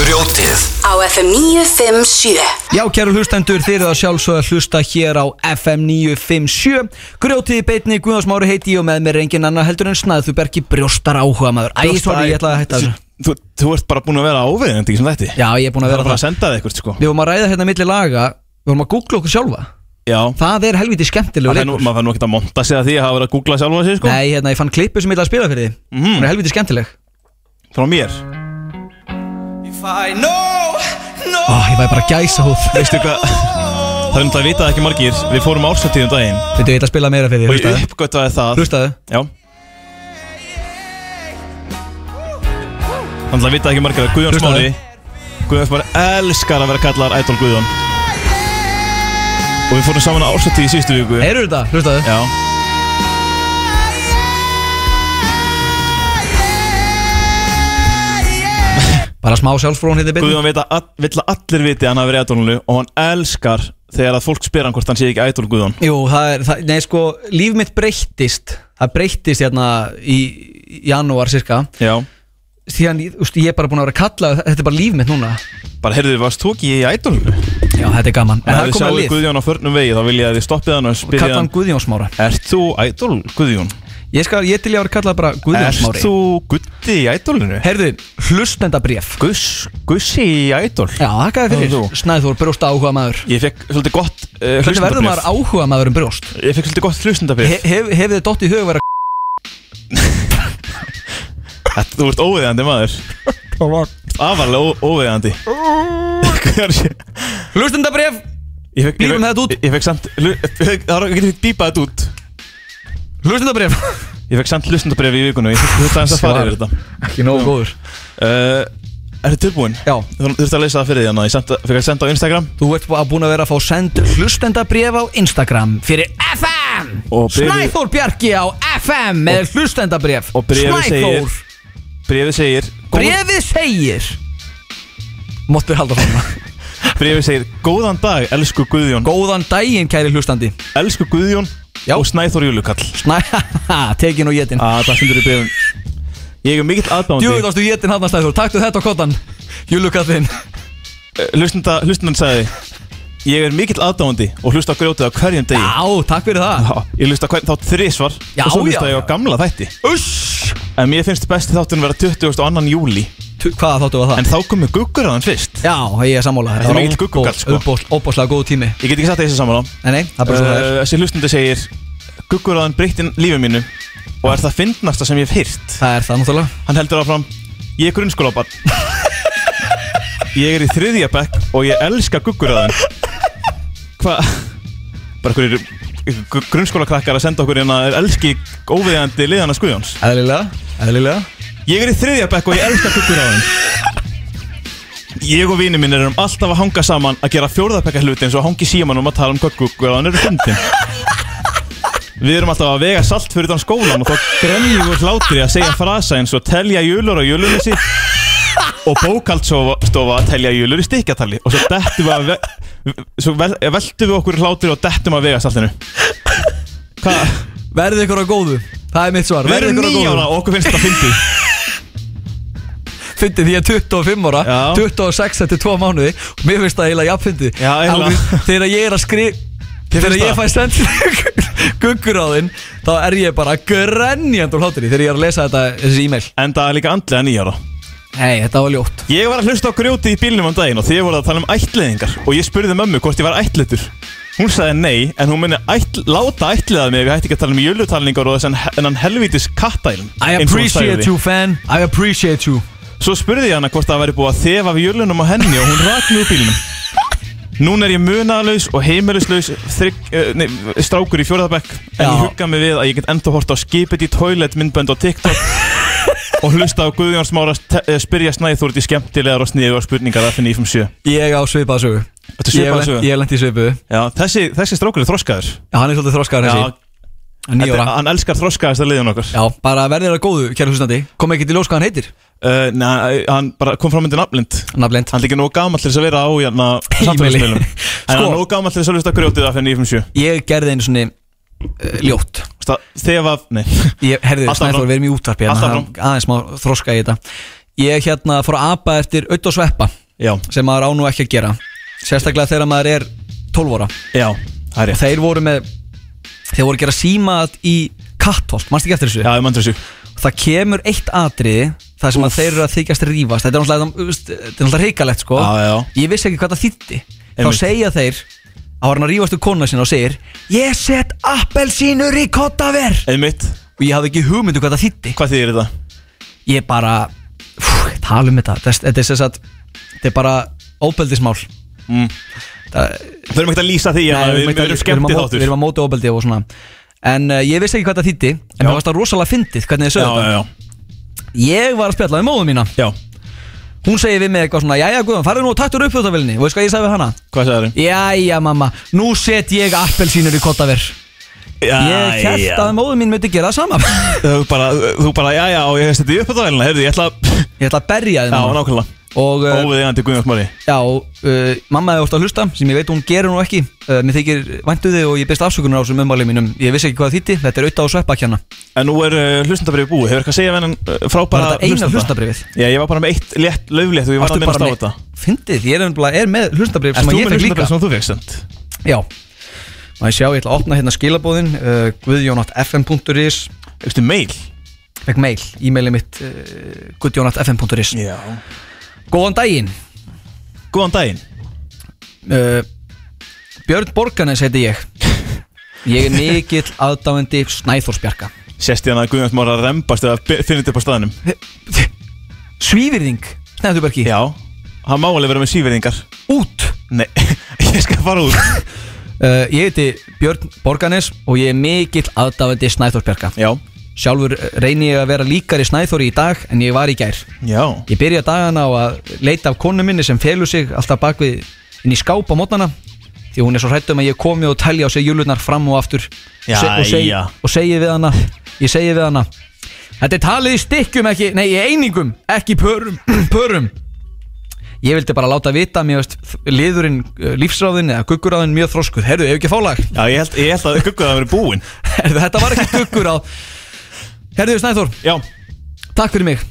S1: Grjótið
S2: Á FM 957
S3: Já, kæru hlustendur, þeir eru að sjálfsögða að hlusta hér á FM 957 Grjótið í beitni, Guðjónsmári heiti ég og með mér er engin annar heldur en snæðu bergi brjóstar áhuga maður Æ, sorry, ég ætlaði að hætta þessu
S4: Þú, þú ert bara búin að vera áveðin, ekki sem þetta
S3: Já, ég er búin að
S4: Það er
S3: vera
S4: bara að
S3: það
S4: senda þig eitthvað, sko
S3: Við vorum að ræða hérna milli laga Við vorum að googla okkur sjálfa
S4: Já
S3: Það er helviti skemmtilegu
S4: Það er nú,
S3: leikur
S4: maður fann nú ekkert að monta sig að því að hafa verið að googla sjálfa sig sko Mhm,
S3: Nei, hérna, ég fann klippu sem ég ætla að spila fyrir því
S4: Mm.
S3: Hún er helviti skemmtileg
S4: Frá mér
S3: Ó, Ah, ég væri bara gæsa húð
S4: Mm. Veistu hvað Það er náttúrulega vitað ekki margir Við fórum ársattíðum daginn
S3: Veitu, ég ætla að spila meira fyrir
S4: Og
S3: því
S4: ég uppgötvaði það
S3: Hlustaðu
S4: Já Þannig að vita ekki margir að Guðjón
S3: Hlustaðu.
S4: Smári Guðjón Smári elskar að vera kallar Idol Guðjón Og við fórum saman á ársætti í síðustu viku
S3: Heyrðu þetta, hlustaðu
S4: Já
S3: Bara smá sjálfsfrón hérna í byrni
S4: Guðjón veit að all- vill að allir viti að hann hafi verið Idolinu Og hann elskar þegar að fólk spyr hann hvort hann sé ekki Idol Guðjón
S3: Jú, það er, það, nei sko, líf mitt breyttist Það breyttist hérna í í janúar cirka
S4: Já
S3: Síðan, ég- þú veist, ég er bara búin að vera kalla Þetta er bara líf mitt núna
S4: Bara heyrðu þið, varst þú ekki í Idolinu?
S3: Já, þetta er gaman En
S4: En
S3: það er
S4: ef þið
S3: komið að
S4: sjáu
S3: lið
S4: Guðjón á förnum vegi þá vil ég að þið stoppið hann og spyrja
S3: Kalla hann Guðjón Smára
S4: Ert þú Idol Guðjón?
S3: Ég skal, ég til ég ára kalla bara Guðjón
S4: Ert
S3: Smári
S4: þú Gutti í Idolinu?
S3: Herðu, hlustendabréf
S4: Guss, Gussi í Idol
S3: Já, þakkaði fyrir Snæður, brjósta áhuga maður
S4: Ég fekk svolítið gott uh,
S3: Hvernig verður maður áhuga maður um brjóst?
S4: Ég fekk svolítið gott hlustendabréf
S3: He, hef, Hefur þið dott í hug að vera
S4: Þetta, þú ert óviðandi maður Afarlega óviðandi
S3: Hlustendabréf
S4: Ég fekk, ég
S3: Býrum
S4: fekk,
S3: þetta út
S4: ég- ég fekk samt hlu- Það var ekki því dýpað þetta út
S3: Hlustendabréf
S4: Ég fekk samt hlustendabréf í vikunum Ég þurfti aðeins að
S3: Svar.
S4: fara yfir þetta
S3: Ekki nógu góður
S4: uh, Er þið tilbúin?
S3: Já
S4: Þú þurfti að leysa það fyrir því hana Ég senda, fekk að senda á Instagram
S3: Þú ert bú- búin að vera að fá send hlustendabréf á Instagram fyrir FM
S4: Og bréfið-
S3: Snæþór Bjarki á FM með hlustendabréf
S4: Og brefið segir Brefið segir
S3: Brefið segir Mottur halda svona
S4: Brefið segir Góðan dag, elsku Guðjón
S3: Góðan daginn, kæri hlustandi
S4: Elsku Guðjón Já. og Snæþór Júlukall
S3: Snæ, tekin og jetin
S4: að það stundur í brefum Ég er mikill
S3: Djúið
S4: aðdáðandi
S3: ástu jetin hann að Snæþór Taktu þetta á kottan Júlukallinn
S4: Hlustnanda, hlustnandan sagði Ég er mikill aðdáðandi og hlusta á grjótið á hverjum degi
S3: Já, takk fyrir það
S4: Já, Ég hlusta á hvern þátt þrísvar
S3: Já,
S4: og svo
S3: já,
S4: hlusta ég á gamla þætti
S3: Uss
S4: En mér finnst besti þáttun vera 22. júli
S3: Tu- Hvað þáttu var það?
S4: En þá komu guggur að hann fyrst
S3: Já, ég er sammála
S4: Þetta er mikill guggugall, sko.
S3: Óbáslega góð tími
S4: Ég get ekki sagt þessi saman á
S3: Nei, nei, það er bara svo það er
S4: Þessi hlustnandi segir Guggur að hann breytti lífið mínu og er það fyndnasta sem ég hef hýrt
S3: Það er það náttúrulega
S4: Hann heldur áfram Ég er grunnskólabarn Ég er í þriðja bekk og ég elska gugguröðan Hva? Bara hverjir grunnskólakrakkar að senda okkur hérna Elski óviðjandi liðana skuðjóns
S3: Eðlilega, eðlilega
S4: Ég er í þriðja bekk og ég elska gugguröðan Ég og vinið minn erum alltaf að hanga saman að gera fjórðabekka hluti eins og að hangi síman um að tala um hvað gugguröðan eru fundin Við erum alltaf að vega salt fyrir þann skólan og þá grenjum við úr hlátri að segja frasa eins og telja júlur á júlunissi og bókaldstofa að telja júlur í stikkatali og svo dettum við að ve svo vel eh, veltum við okkur hlátri og dettum að vega saltinu Hvað?
S3: Verðið ykkur á góðu Það er mitt svar
S4: Við
S3: Verðið
S4: erum
S3: ykkur á
S4: nýjára
S3: góðu
S4: og okkur finnst þetta fyndið
S3: Fyndi því ég er 25 ára
S4: Já.
S3: 26 eftir 2 mánuði Og mér finnst það eiginlega jafnfyndi
S4: Já, eiginlega.
S3: Þegar ég er að skri
S4: Þér
S3: Þegar
S4: finnst
S3: ég
S4: það?
S3: fæ send Guggur á þinn Þá er ég bara grenjand úr hlátur Þegar ég er að lesa þetta Þessi e-mail
S4: En það er líka andlega nýjára
S3: Hei, þetta var ljótt
S4: Ég var að hlusta á grjóti í bílnum á daginn og þið voruð að tala um ættleiðingar og ég spurði mömmu hvort ég var ættleitur Hún sagði nei, en hún muni ætl, láta ættleiða mig ef ég hætti ekki að tala um jölutalningar og þessan ennan helvítis kattælum
S3: I
S4: eins og hún
S3: appreciate
S4: sagði.
S3: you fan I appreciate you
S4: Svo spurði ég hana hvort það væri búið að þefa við jölunum á henni og hún rakni úr bílnum Núna er ég munalaus og heimilislaus þrygg, uh, nei, strákur í fjórðabekk en
S3: Já.
S4: ég hugga mig við að ég get enda hort á skipet í toilet myndbönd á TikTok og hlusta á Guðjón Smára te- eh, spyrja Snæður út í skemmtilegar og sniðu spurningar að finna í fjum sjö
S3: Ég á svipað sögu
S4: Þetta er svipað sögu.
S3: Ég lendi í svipuðu
S4: Já, þessi, þessi strákur er þroskaður
S3: Já, hann er svolítið þroskaður
S4: Já,
S3: þessi Nýjóra
S4: þetta- hann elskar þroskaðast að liðan okkar
S3: Já, bara verðið að góðu, kæru hlustandi Kom ekki til ljós hvað hann heitir
S4: uh, Nei, hann bara kom fram undir nafnlind
S3: Nafnlend
S4: Hann er ekki nógu gamall til þess að vera á hérna samfélagsmiðlum En hann
S3: Sko.
S4: er nógu gamall til þess að hlusta á grjótið að finna í fjum sjö
S3: Ég gerði einu svona uh, ljótt
S4: Þegar var, nei
S3: Ég, herðu,
S4: Alltaf
S3: Snæþór,
S4: fram.
S3: við erum í útvarpi hérna,
S4: Alltaf
S3: það er Aðeins má þroska í þetta Ég hérna fór að apa eftir auð og sveppa
S4: Já,
S3: Sem maður á nú ekki að gera Sérstaklega þegar maður er 12 ára
S4: já, það er rétt
S3: Þeir voru með Þeir voru að gera símat í kattholt Manstu ekki eftir þessu?
S4: Já, ég mann þessu
S3: Það kemur eitt atriði Það sem að þeir eru að þykjast rífast Þetta er náttúrulega, þú veist, þetta er náttúrulega reikalegt sko
S4: Já, já.
S3: Ég vissi ekki hvað það þýtti Þá
S4: Einmitt.
S3: segja þeir þá var hann að rífast um kona sinna og segir Ég set appelsínur í kottaver
S4: Einmitt
S3: Og ég hafði ekki hugmyndu hvað það þýtti
S4: Hvað þýðir þetta?
S3: Ég bara, fú, tala um þetta Þess- Þetta er sem sagt, þetta er bara óbeldismál
S4: mm.
S3: Það
S4: Við erum ekkert að lýsa því að við- við erum skemmti
S3: að-
S4: þáttur.
S3: Við erum að móta óbeldi og svona En uh, ég vissi ekki hvað það þýtti En mér varst það rosalega fyndið hvernig þið sögðu
S4: Já, já, já
S3: Ég var að spjalla við móðu mína
S4: Já
S3: Hún segir við mig eitthvað svona Jæja Guðan, farðu nú og taktur upp þjóttavillinni Og veist hvað ég sagði við hana?
S4: Hvað sagði
S3: þið? Jæja mamma, nú set ég appelsínur í kottaver Ég
S4: Jæja.
S3: held að móðu mín myndi gera það sama
S4: Þú bara, þú bara, já, já, ég seti upp á það velina, heyrðu, ég ætla að
S3: Ég ætla að berja þið
S4: Já,
S3: núna.
S4: nákvæmlega
S3: Og uh,
S4: Óvið eigandi Guðjónsmári
S3: Já, uh, mamma hefur alltaf að hlusta sem ég veit hún gerur nú ekki uh, Mér þykir væntu þig og ég byrst afsökunar á þessum ummælið mínum Ég vissi ekki hvað það þýtti, þetta er auðvitað á sveppakjanna
S4: En nú er uh, hlustandabrið búið, hefur eitthvað að segja vennan uh, frábæra
S3: Var þetta eina hlustandabrifið?
S4: Já, ég var bara með eitt létt löflétt og ég var að
S3: Varstu
S4: minnast á
S3: bara
S4: þetta
S3: Fyndið, ég er, nefnilega- er með hlustabrif
S4: Ert
S3: sem að
S4: þú
S3: ég
S4: með
S3: fekk líka
S4: hlustandabrið sem þú fékkst, sent?
S3: Já Má ég sjá, ég ætla að opna hérna skilabóðin uh, guðjónattfm.is
S4: Eftir mail?
S3: Fekk mail, e-mailið mitt uh, guðjónattfm.is
S4: Já
S3: Góðan daginn
S4: Góðan daginn
S3: uh, Björn Borganes heiti ég Ég er mikill aðdáðandi Snæþórsbjarka
S4: Sérst ég hann hérna að Guðjónsmári að rembast eða bi- finna þetta upp á staðnum
S3: Svívirðing, Snæþórsbjarki
S4: Já, hann má alveg vera með svívirðingar
S3: Út
S4: Nei, ég skal fara út
S3: uh, Ég heiti Björn Borganes og ég er mikill aðdáðandi Snæþórsbjarka
S4: Já
S3: Sjálfur eh, reyni ég að vera líkari Snæþóri í dag en ég var í gær
S4: Já
S3: Ég byrja dagana á að leita af konu minni sem felur sig alltaf bakvið inn í skáp á mótnana því hún er svo hrætt um að ég komi og telja á sig júlunar fram og aftur Se- og, seg,
S4: Jæja.
S3: og segi við hana ég segi við hana Þetta er talið í stykkjum ekki, nei í einingum ekki pörum, pörum Ég vildi bara láta vita mér veist liðurinn, eh, lífsráðin eða gugguráðin mjög þroskuð, heyrðu, ef ekki fálag
S4: Já, ég held, ég held að gugguráðin verið búin
S3: Heyrðu, þetta var ekki gugguráð Heyrðu, Snæþór
S4: Já
S3: Takk fyrir mig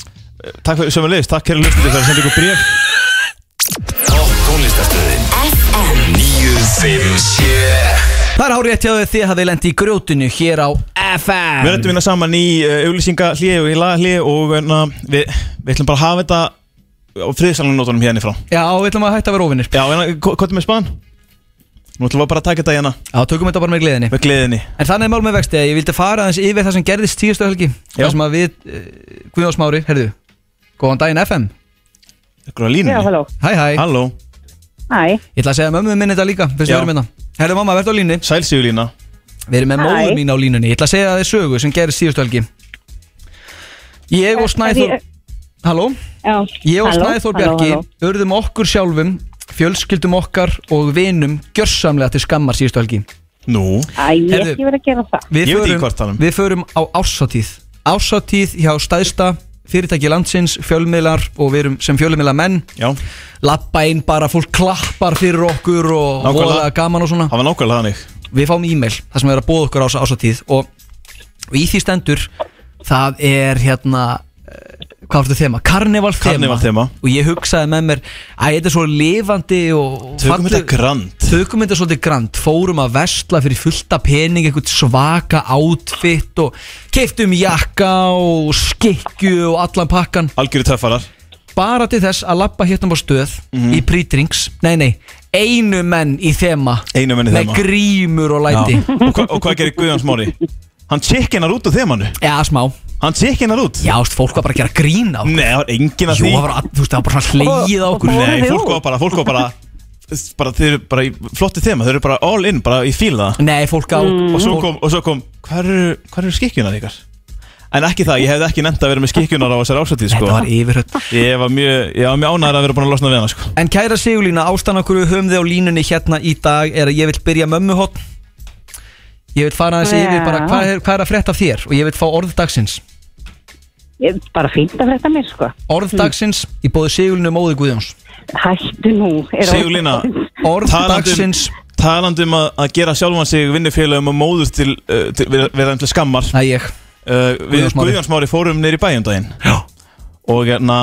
S4: Takk fyrir, sem við leiðist, takk fyrir lustin fyrir að senda ykkur bréf
S1: Topp tónlistarstöðin FM 957
S3: Það er hárið eftir að þið hafið lendi í grjótinu hér á FM
S4: Við ætlum vinna saman í uh, auglýsinga hlið og í laga hlið og na, við, við ætlum bara að hafa þetta á friðsalanótunum hérna frá
S3: Já, við ætlum að hætta að vera óvinnir
S4: Já, en hvað er með spán? Nú ætlum við bara að taka þetta hérna
S3: Já, tökum þetta bara með gleðinni
S4: Með gleðinni
S3: En þannig er mál með vexti að ég vildi fara aðeins yfir það sem gerðist tíustu helgi Já. Það sem að við, uh, Guðjóðsmári, herðu Góðan daginn FM
S4: Ykkur á
S3: Mm.
S4: línunni.
S13: Já, halló.
S3: Hæ, hæ
S4: Halló
S13: Hæ,
S3: Ég ætla að segja mömmu minni þetta líka, fyrst við
S4: Já.
S3: erum hérna Herðu mamma, verður á línni
S4: Sæl síðu lína
S3: Við erum með
S13: Hæ.
S3: móður mín á línunni Ég ætla að segja þér sögu sem gerðist tíustu helgi Ég og Snæþór
S13: ég-
S3: Halló
S13: já
S3: Ég og
S13: halló,
S3: Snæþór
S13: halló,
S3: Bjarki
S13: halló.
S3: urðum okkur sjálfum, fjölskyldum okkar og vinum gjörsamlega til skammar síðustu helgi.
S4: Nú?
S13: Æ, ég er ekki verið að gera það
S3: Við
S4: hann
S3: förum, við förum á ássatíð Ássatíð hjá stæðsta fyrirtæki landsins, fjölmiðlar og við erum sem fjölmiðlar menn
S4: Já.
S3: Lappa inn bara, fólk klappar fyrir okkur og
S4: Nákvæmlega.
S3: voða gaman og svona
S4: Það var nákvæmlega þannig
S3: Við fáum e-mail þar sem er að bóða okkur á þessa ássatíð og, og í því stendur það er hérna eh, hvað var þetta þema? Karneval þema
S4: Karnevalþema.
S3: og ég hugsaði með mér að þetta er svo lifandi og og
S4: Tökum
S3: falleg-
S4: þetta grand.
S3: tökum þetta svolítið grand fórum að vestla fyrir fullta pening einhvern svaka átfitt og keiftum jakka og skikju og allan pakkan
S4: Algjöru töffarar
S3: bara til þess að lappa hérna á stöð
S4: Mhm.
S3: í pre-drinks, nei nei einu menn í þema
S4: Einu menn í þema.
S3: með grímur og læti
S4: Já. Og, hva, og hvað gerir Guðjón Smári? Hann tjekkinar út úr þeim hannu
S3: Já, smá
S4: Hann tjekkinar út?
S3: Já, veist, fólk var bara að gera grín á
S4: Nei, það var engin að
S3: Jú,
S4: því
S3: það var all- þú veist, það var bara svona hlegið á okkur
S4: Nei, fólk var bara, fólk var bara bara þeir eru bara í flotti þema þeir eru bara all in, bara í fíla það
S3: Nei, fólk á
S4: og svo kom, og svo kom hvað eru, hvað eru skikkjunar ykkar? en ekki það, ég hefði ekki nefnt að vera með skikkjunar á þessari ásætið sko.
S3: Þetta var yfirhött
S4: ég var mjög, ég var mjög ánæður að vera búin að losna við hana sko.
S3: En kæra Sigurlína, ástæðan okkur við höfum þið á línunni hérna í dag er að ég vil byrja mömmuhotn Ég vil fara aðeins
S13: Já.
S3: yfir bara hvað er, hvað er að frétta af þér og ég vil fá orð dagsins
S13: Ég er bara fínt að frétta mér sko
S3: Orð dagsins í bóði Sigurlínu móði Guðjóns
S13: Hættu nú er orð-
S4: Sigurlína,
S3: Orð
S4: talandi um-
S3: dagsins.
S4: talandi um að, að gera sjálfan sig vinnufélagum og móður til, uh, til vera, vera til skammar
S3: Það er ég
S4: uh, Við
S3: Guðjón Smári.
S4: Guðjónsmári fórum neyri bæjum um daginn Já Og hérna,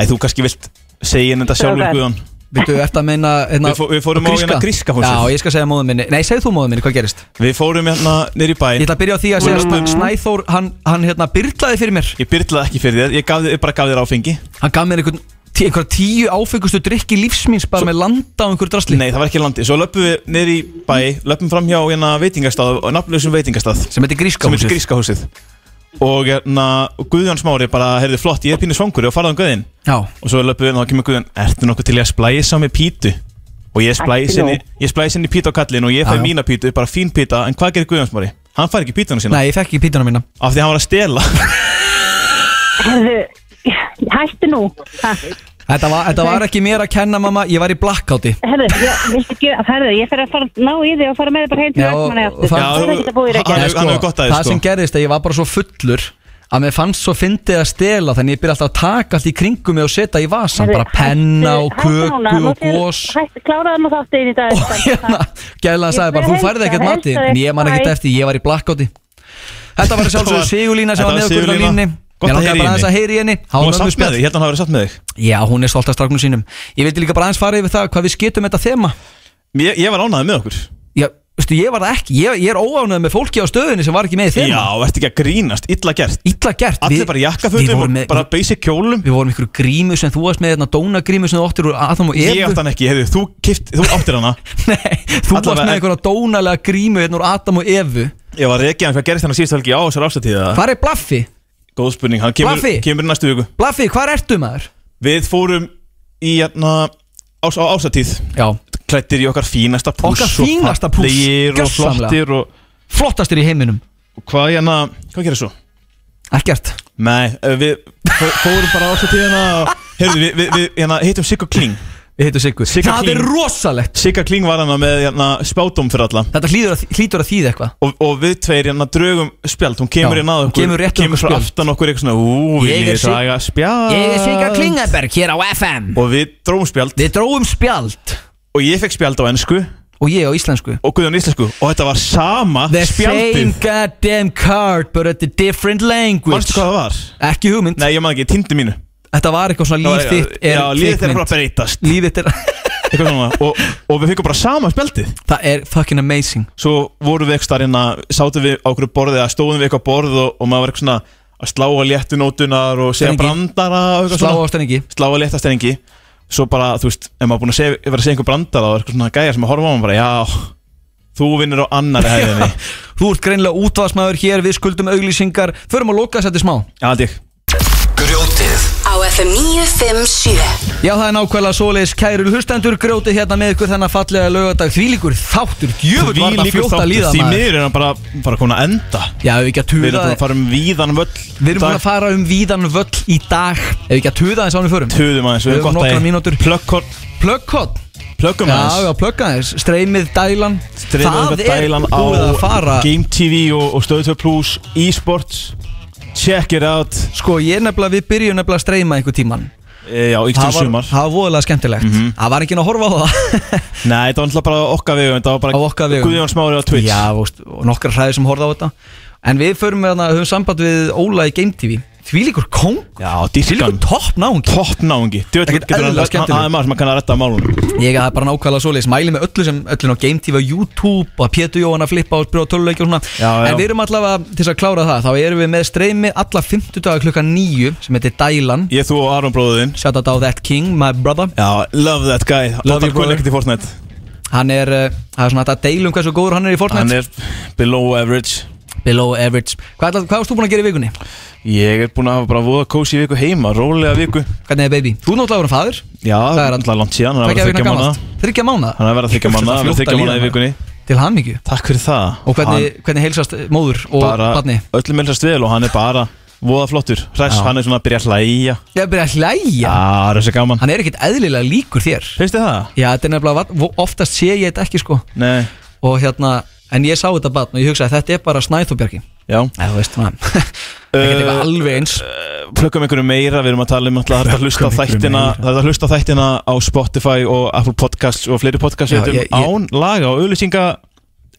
S4: æ, þú kannski vilt segja henni þetta sjálfur
S3: Strákar.
S4: Guðjón
S3: Veitu, eftir að meina hérna,
S4: Við fó- við fórum á hérna gríska húsið.
S3: Já, ég skal segja móðu minni Nei, segð þú móðu minni, hvað gerist?
S4: Við fórum hérna neyri bæjum
S3: Ég ætla að byrja á því að segja að Snæþór, hann, hann hérna byrlaði fyrir mér
S4: Ég byrlaði ekki fyrir þér, ég, gaf, þér- ég bara gaf þér áfengi
S3: Hann gaf mér einhvern tí, einhverja tíu áfengustu drikki lífsmins bara með landa á einhverju drasli
S4: Nei, það var ekki landi Svo löpum við niður í bæ Löpum fram hjá hérna veitingastað Og nafnlausum veitingastað
S3: Sem heitir Grískahúsið.
S4: Sem heitir Grískahúsið Og hérna og Guðjón Smári bara Herði flott, ég er pínu svangur Ég var farað um Guðin
S3: Já
S4: Og svo löpum við inn og þá kemur Guðjón Ertu nokkuð til í að splæsa með pítu? Og ég
S3: Ekki nóg.
S4: splæs henni Ég splæs henni pítu á kallin Og ég
S3: Já,
S4: fæ
S3: já.
S4: mína pítu Bara fín píta En hvað gerir Guðjón Smári? Hann fær ekki pítuna sína
S3: Nei, ég fekk ekki pítuna mína
S4: Af því að hann var að stela
S13: Herðu, hættu nú Ha,
S3: Þetta var, þetta var ekki mér að kenna mamma, ég var í blackouti
S13: Herðu, ég, viltu gera, herðu, ég fer að fara ná í þig og fara með þig bara heim til
S3: Já,
S13: Vestmanni
S3: og
S13: aftur
S3: það-
S13: Það er ekkert að búa í
S3: Nei,
S13: Reykjavík
S3: sko, Það sem gerðist að ég var bara svo fullur að mér fannst svo fyndið að stela þannig ég byrja alltaf að taka allt í kringum mig og setja í vasan bara penna og köku og gós
S13: Hættu, kláraðu nú þáttið í dag hérna,
S3: Gæðlega
S13: Ég
S3: sagði bara,
S13: bara
S3: þú færði
S13: heilsa-
S3: ekkert mati
S13: heilsa þér,
S3: En ég man ekkert
S13: bye.
S3: eftir, ég var í blackouti Þetta var að
S4: Þetta
S3: sjálfsögðu
S4: var-
S3: Sigurlína sem
S4: þetta
S3: var með
S4: var
S3: okkur á
S4: Sigurlína.
S3: línni
S4: Gott
S3: Ég langaði
S4: að heyra í
S3: bara aðeins að
S4: henni.
S3: heyri henni
S4: Hún var sátt með þig, ég held að hún hafi verið sátt með þig
S3: Já, hún er stolt af stráknum sínum Ég vildi líka bara aðeins fara yfir það hvað við skytum þetta þema
S4: Ég, ég var ánæðið með okkur
S3: Já, veistu, ég var það ekki Ég, ég er óánægð með fólki á stöðinni sem var ekki með í þema
S4: Já, ertu ekki að grínast, illa gert
S3: Illa gert
S4: Allir
S3: Við-
S4: bara í
S3: við
S4: jakkafötum
S3: vorum
S4: og
S3: með-
S4: bara basic kjólum
S3: Við vorum ykkur grímu sem þú varst með Þetta dónagrímu sem þú áttir úr Adam og
S4: Ég
S3: Evu
S4: átt hann ekki, hefðu, þú, kift, þú áttir hana
S3: Þú varst með einhverja dónalega grímu hérna úr Adam og Evu
S4: Ég var reikið hann, hvað gerist hann að síðust helgi á þessar ástatíða
S3: Hvar er Blaffi?
S4: Góð spurning, hann kemur,
S3: Blaffi?
S4: kemur í næstu viku
S3: Blaffi, hvar ertu maður?
S4: Við fórum í hérna ás, á ástatíð
S3: Já
S4: Klættir í okkar fínasta pús
S3: Okkar fínasta púss,
S4: Legir og
S3: gjörsamlega.
S4: flottir og
S3: Flottastir í heiminum
S4: og Hvað hérna, hvað gerir svo?
S3: Ekkert
S4: Nei, eh, við fó- fórum bara á ástatíðina og Heyrðu, við, við, við hérna, hittum Siggo Kling
S3: Við hittum Siggo
S4: Sigga
S3: Það er
S4: Kling.
S3: rosalegt
S4: Sigga Kling var hana með hérna, spátum fyrir alla
S3: Þetta hlýtur að, hlýtur að þýða eitthvað
S4: og, og við tveir hérna drögum spjald Hún kemur
S3: Já,
S4: hérna að
S3: hún
S4: okkur
S3: kemur rétt um okkur
S4: frá
S3: spjald.
S4: aftan okkur eitthvað svona Ú,
S3: Ég
S4: við
S3: er
S4: niður
S3: Sig-
S4: draga spjald
S3: Ég er Sigga Klingaberg hér á FM
S4: Og við dróum spjald
S3: Við dróum spjald
S4: Og ég fekk spjald á ennsku
S3: Og ég á íslensku
S4: Og Guðjón íslensku Og þetta var sama
S3: The same
S4: spjaldið
S3: goddamn card but at a different language
S4: Manstu hvað það var?
S3: Ekki hugmynd
S4: Nei, ég maður ekki, tindi mínu
S3: Þetta var eitthvað svona
S4: Það var-
S3: líf þitt er
S4: Já, líf þitt er
S3: kvikmynd.
S4: bara að breytast
S3: Líf þitt er
S4: Eitthvað svona og, og við fekkum bara sama spjaldið
S3: Það er fucking amazing
S4: Svo vorum við ekki starinn að Sátum við á okkur borðið Eða stóðum við eitthvað á borð og, og maður var eitthvað svona Að slá á léttunótunar Og segja
S3: Strengi.
S4: brandara og eitthvað
S3: Slá
S4: svona.
S3: á stenningi
S4: slá að létta stengi svo bara, þú veist, ef maður búin að segja, vera að segja einhver brandara og eitthvað svona gæja sem að horfa á hann bara, já, þú vinnur á annari hæðinni
S3: Þú ert greinilega útvarsmaður hér Við skuldum auglýsingar Förum að loka þess að þetta smá
S4: Aldrei
S1: Grjótið
S2: Á FM 957
S3: Já, það er nákvæmlega svoleiðis kæru hlustendur grjótið hérna með ykkur þennan fallega lögadag þvílíkur þáttur, djöfull var það
S4: Þvílíkur
S3: fljótt að
S4: þáttur,
S3: líða
S4: því
S3: maður
S4: miður er hann bara, bara komin að enda
S3: Já, ef við ekki að
S4: við erum
S3: tuða
S4: búin að fara um víðan völl
S3: Við erum búin að fara um víðan völl í dag Ef við ekki að tuða þess að við förum
S4: Tuðum aðeins, við
S3: Við höfum
S4: höfum gott að
S3: nokkra
S4: í.
S3: mínútur
S4: Plökkort
S3: Plökkot
S4: Plöggum
S3: Já,
S4: aðeins.
S3: já, plökka þess Streymið dælan
S4: Dreifum
S3: Það
S4: eitthvað
S3: er
S4: dælan á
S3: búið að fara
S4: Game TV og, og Stöðu 2 Plus eSports Check it out
S3: Sko, ég nefnilega, við byrjum nefnilega að streyma einhver tíman
S4: e, Já, ykkur
S3: Það var,
S4: sumar Mhm.
S3: það var voðalega skemmtilegt Það var ekki að horfa á það
S4: Nei, þetta var náttúrulega bara okkar vegum Þetta var
S3: Á
S4: bara
S3: okkar vegum.
S4: Guðjón Smári á Twitch
S3: Já, veist, og nokkar hræðir sem horfa á þetta En við förum með hana, höfum samband við Óla í Game TV Því líkur kong
S4: Já, dýrkan
S3: Topp náungi
S4: Topp náungi Djöfull
S3: Ekkert
S4: getur hann-
S3: eðlilega skemmtilegur.
S4: Það er maður sem kann að redda málunum
S3: Ég er bara nákvæmlega svoleiðis Mæli með öllu sem öllin á Game TV og YouTube Og að Pétur Jóhann að flippa og spyrja á töluleiki og svona
S4: Já, já.
S3: En við erum allavega, til þess að klára það Þá erum við með streymi alla 50 dagar klukkan 9 Sem heitir Dælan
S4: Ég, þú og Aron bróðin
S3: Shout out á That King, my brother
S4: Já, love that guy
S3: Love
S4: Love
S3: you,
S4: you brother
S3: brother.
S4: ekkert í Fortnite
S3: Hann er, uh, það er svona hægt að deila um hversu góður hann er í Fortnite
S4: Hann er below average
S3: Below average Hvað, ætla- hvað varst þú búin að gera í vikunni?
S4: Ég er búin að hafa bara voða kósi viku heima Rólega viku
S3: Hvernig er baby? Þú er náttúrulega voru fadur
S4: Já, það
S3: er
S4: er alltaf langt síðan Hann
S3: Hvað
S4: er að
S3: gerði
S4: vera
S3: hérna
S4: þryggja manna
S3: gamast? Þryggja mánuða?
S4: Hann er að vera þryggja
S3: Hugsa,
S4: manna
S3: það
S4: Hann er að vera
S3: fljótt að
S4: þryggja manna
S3: líða
S4: í vikunni
S3: Til hamingju
S4: Takk fyrir það
S3: Og hvernig, hvernig heilsast móður og
S4: Bara
S3: barni?
S4: öllum helst vel og hann er bara Voða flottur Hress,
S3: Já.
S4: hann er svona að byrja að hlæja
S3: Ég er að byrja að hlæja
S4: Já, það er þessi gaman
S3: Hann er ekkit eðlilega líkur þér
S4: Finnst þið það?
S3: Já, þetta er nefnilega vat- vo- Oftast sé ég þetta ekki sko
S4: Nei
S3: Og hérna En ég sá þetta barn og ég hugsaði Þetta er bara Snæþóbjarki
S4: Já
S3: Já, þú veist maður Það er eitthvað alveg eins
S4: Plökkum einhverju meira, við erum að tala um alltaf Það er hægt að hlusta á
S3: Plöggum einhverju
S4: þættina
S3: meira.
S4: Það er hægt að hlusta á þættina á Spotify og Apple Podcasts og fleiri podcasts
S3: Já,
S4: veitum
S3: ég- ég-
S4: án laga og auðlýsinga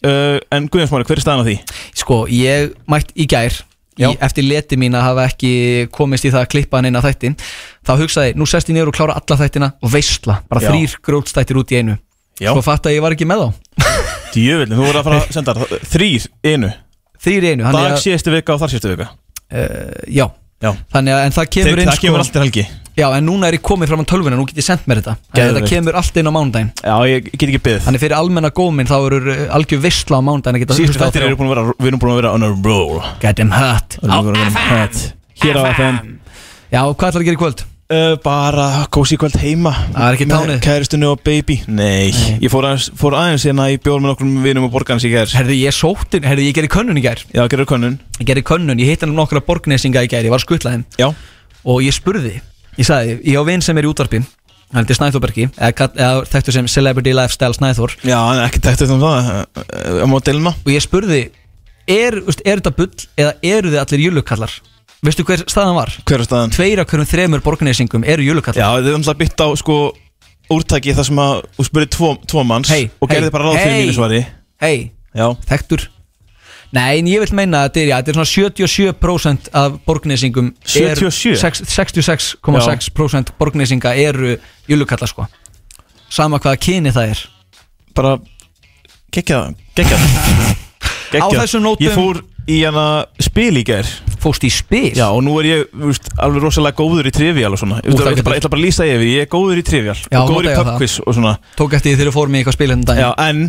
S4: uh, En Guðjón Smári, hver er staðan á því?
S3: Sko, ég mætt í gær í, Eftir leti mín að hafa ekki komist í það að klippa hann inn að þættin Þá hugsaði, ég, nú sest ég niður og klára alla þættina Og veistla, bara
S4: Já.
S3: þrýr grjótstættir út í einu
S4: Já.
S3: Svo fatt að ég var ekki með þá
S4: Djöfullin, þú voru að fara að senda þar- þrír einu
S3: Þrýr í einu þannig
S4: Dag
S3: að-
S4: síðustu vika og þar síðustu vika
S3: uh, Já,
S4: Já
S3: þannig að en það kemur
S4: Þeir-
S3: inn sko.
S4: sko. Það kemur allt til helgi
S3: Já, en núna er ég komið fram á tölvuna, nú get ég sendt mér þetta Þannig að
S4: Geðveikt.
S3: Þetta kemur allt inn á mánudaginn
S4: Já, ég get ekki byggð
S3: Þannig fyrir almenna gómin þá eru eh, algjör vissla á mánudaginn að geta
S4: Síðustu
S3: hlustað á
S4: þættir
S3: þrjá.
S4: eru búin að vera, við erum búin að vera on a roll
S3: Get them hot
S4: Á FM Hér á FM
S3: Já, hvað ætlar að gera í kvöld?
S4: Uh, bara kósi kvöld heima Það
S3: er ekki tánið.
S4: Kæristunni og baby Nei, ég fór aðeins, fór aðeins hérna í bjór með nokkrum vinum og borgarnas í gær
S3: Herði, ég sótti, herði, ég gerði könnun í gær
S4: Já, gerði könnun
S3: Ég gerði könnun, ég hitt hann nokkra borgnesinga í gær, ég var skutlaðin
S4: Já
S3: Og ég spurði, ég sagði, ég á vin sem er í útvarpi Hann heitir Snæþórbergi, eða, kall- eða þekktu sem Celebrity Lifestyle Snæþór
S4: Já, hann er ekki tættu um það uh, um modelma
S3: Og ég spurði, er, veist, er þetta bull eða eru þið allir júlukallar? Veistu hver staðan var?
S4: Hver er staðan?
S3: Tveir af hverjum þremur borgnesingum eru júlukallar
S4: Já, þau er náttúrulega bytt á sko úrtaki þar sem að þú spurði tvo, tvo manns
S3: hey,
S4: og gerði bara ráð fyrir mínu svari
S3: Hei, þekktur Nei, en ég vil meina að þetta er, já, þetta er svona 77% af borgnesingum
S4: 77?
S3: er sex- 66,6% borgnesinga eru júlukalla sko Sama hvaða kyni það er
S4: Bara gekkja það Gekkja það
S3: Á þessum nótum-
S4: Ég fór í hana spil í gær
S3: Fóst í spil?
S4: Já, og nú er ég úst, alveg rosalega góður í trivial og svona
S3: það
S4: Þú veist, Ég ætla
S3: getur-
S4: bara, ég ætla bara að lýsa yfir, ég er góður í trivial
S3: Já,
S4: og góður
S3: nota
S4: í
S3: ég það.
S4: pubquiz og svona
S3: Tók eftir því þegar fórum í eitthvað spil hérna um daginn
S4: Já, en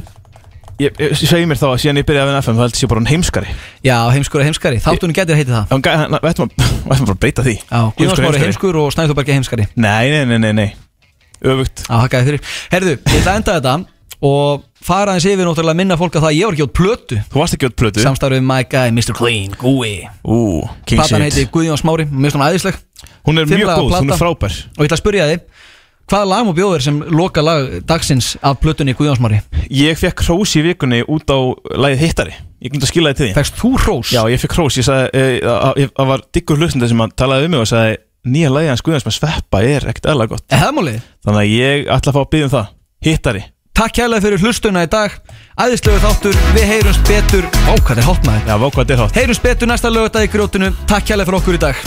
S4: ég, ég, ég segi mér þá að síðan ég byrjaði að vinna FM þá heldur ég sé bara hann heimskari
S3: Já, heimskur er heimskari, þáttunum getur heitið það
S4: Þannig að við ætlum að við ætlum bara að breyta því
S3: Já, Guðjónsmári heimskur og Snæðurbergi heimskari
S4: Nei, nei, nei, nei, nei Öfugt
S3: Já, hakaði fyrir Herðu, ég ætla að enda þetta og fara aðeins yfir náttúrulega að minna fólk að það að ég var ekki átt plötu
S4: Þú varst ekki átt plötu
S3: Samstarfið með My Guy, Mr. Clean, Gúi
S4: Ú, King
S3: Platan
S4: Shit.
S3: heiti Guðjón Smári, mér finnst hún æðisleg
S4: Hún er mjög
S3: Fimm laga
S4: góð, hún er
S3: plata.
S4: frábær.
S3: Og ég ætla að spyrja þig, hvaða lag má bjóður sem loka lag dagsins af plötunni Guðjón Smári?
S4: Ég fekk hrós í vikunni út á lagið hittari Ég glemt að skila þið til því
S3: Fekst þú hrós?
S4: Já, ég fekk hrós Ég sagði, eh, að- að- það var diggur hlustandi sem hann talaði um mig og sagði Nýja lagið hans Guðjóns með sveppa er ekkert eðla gott
S3: Er það málið?
S4: Þannig að ég ætla að fá að byggja um það Hittari
S3: Takk kærlega fyrir hlustuna í dag Æðislegu þáttur, við heyrumst betur Vá, hvað þetta er hot maður
S4: Já, vá, hvað þetta er hot
S3: Heyrumst betur næsta lögutag í grjótinu Takk kærlega fyrir okkur í dag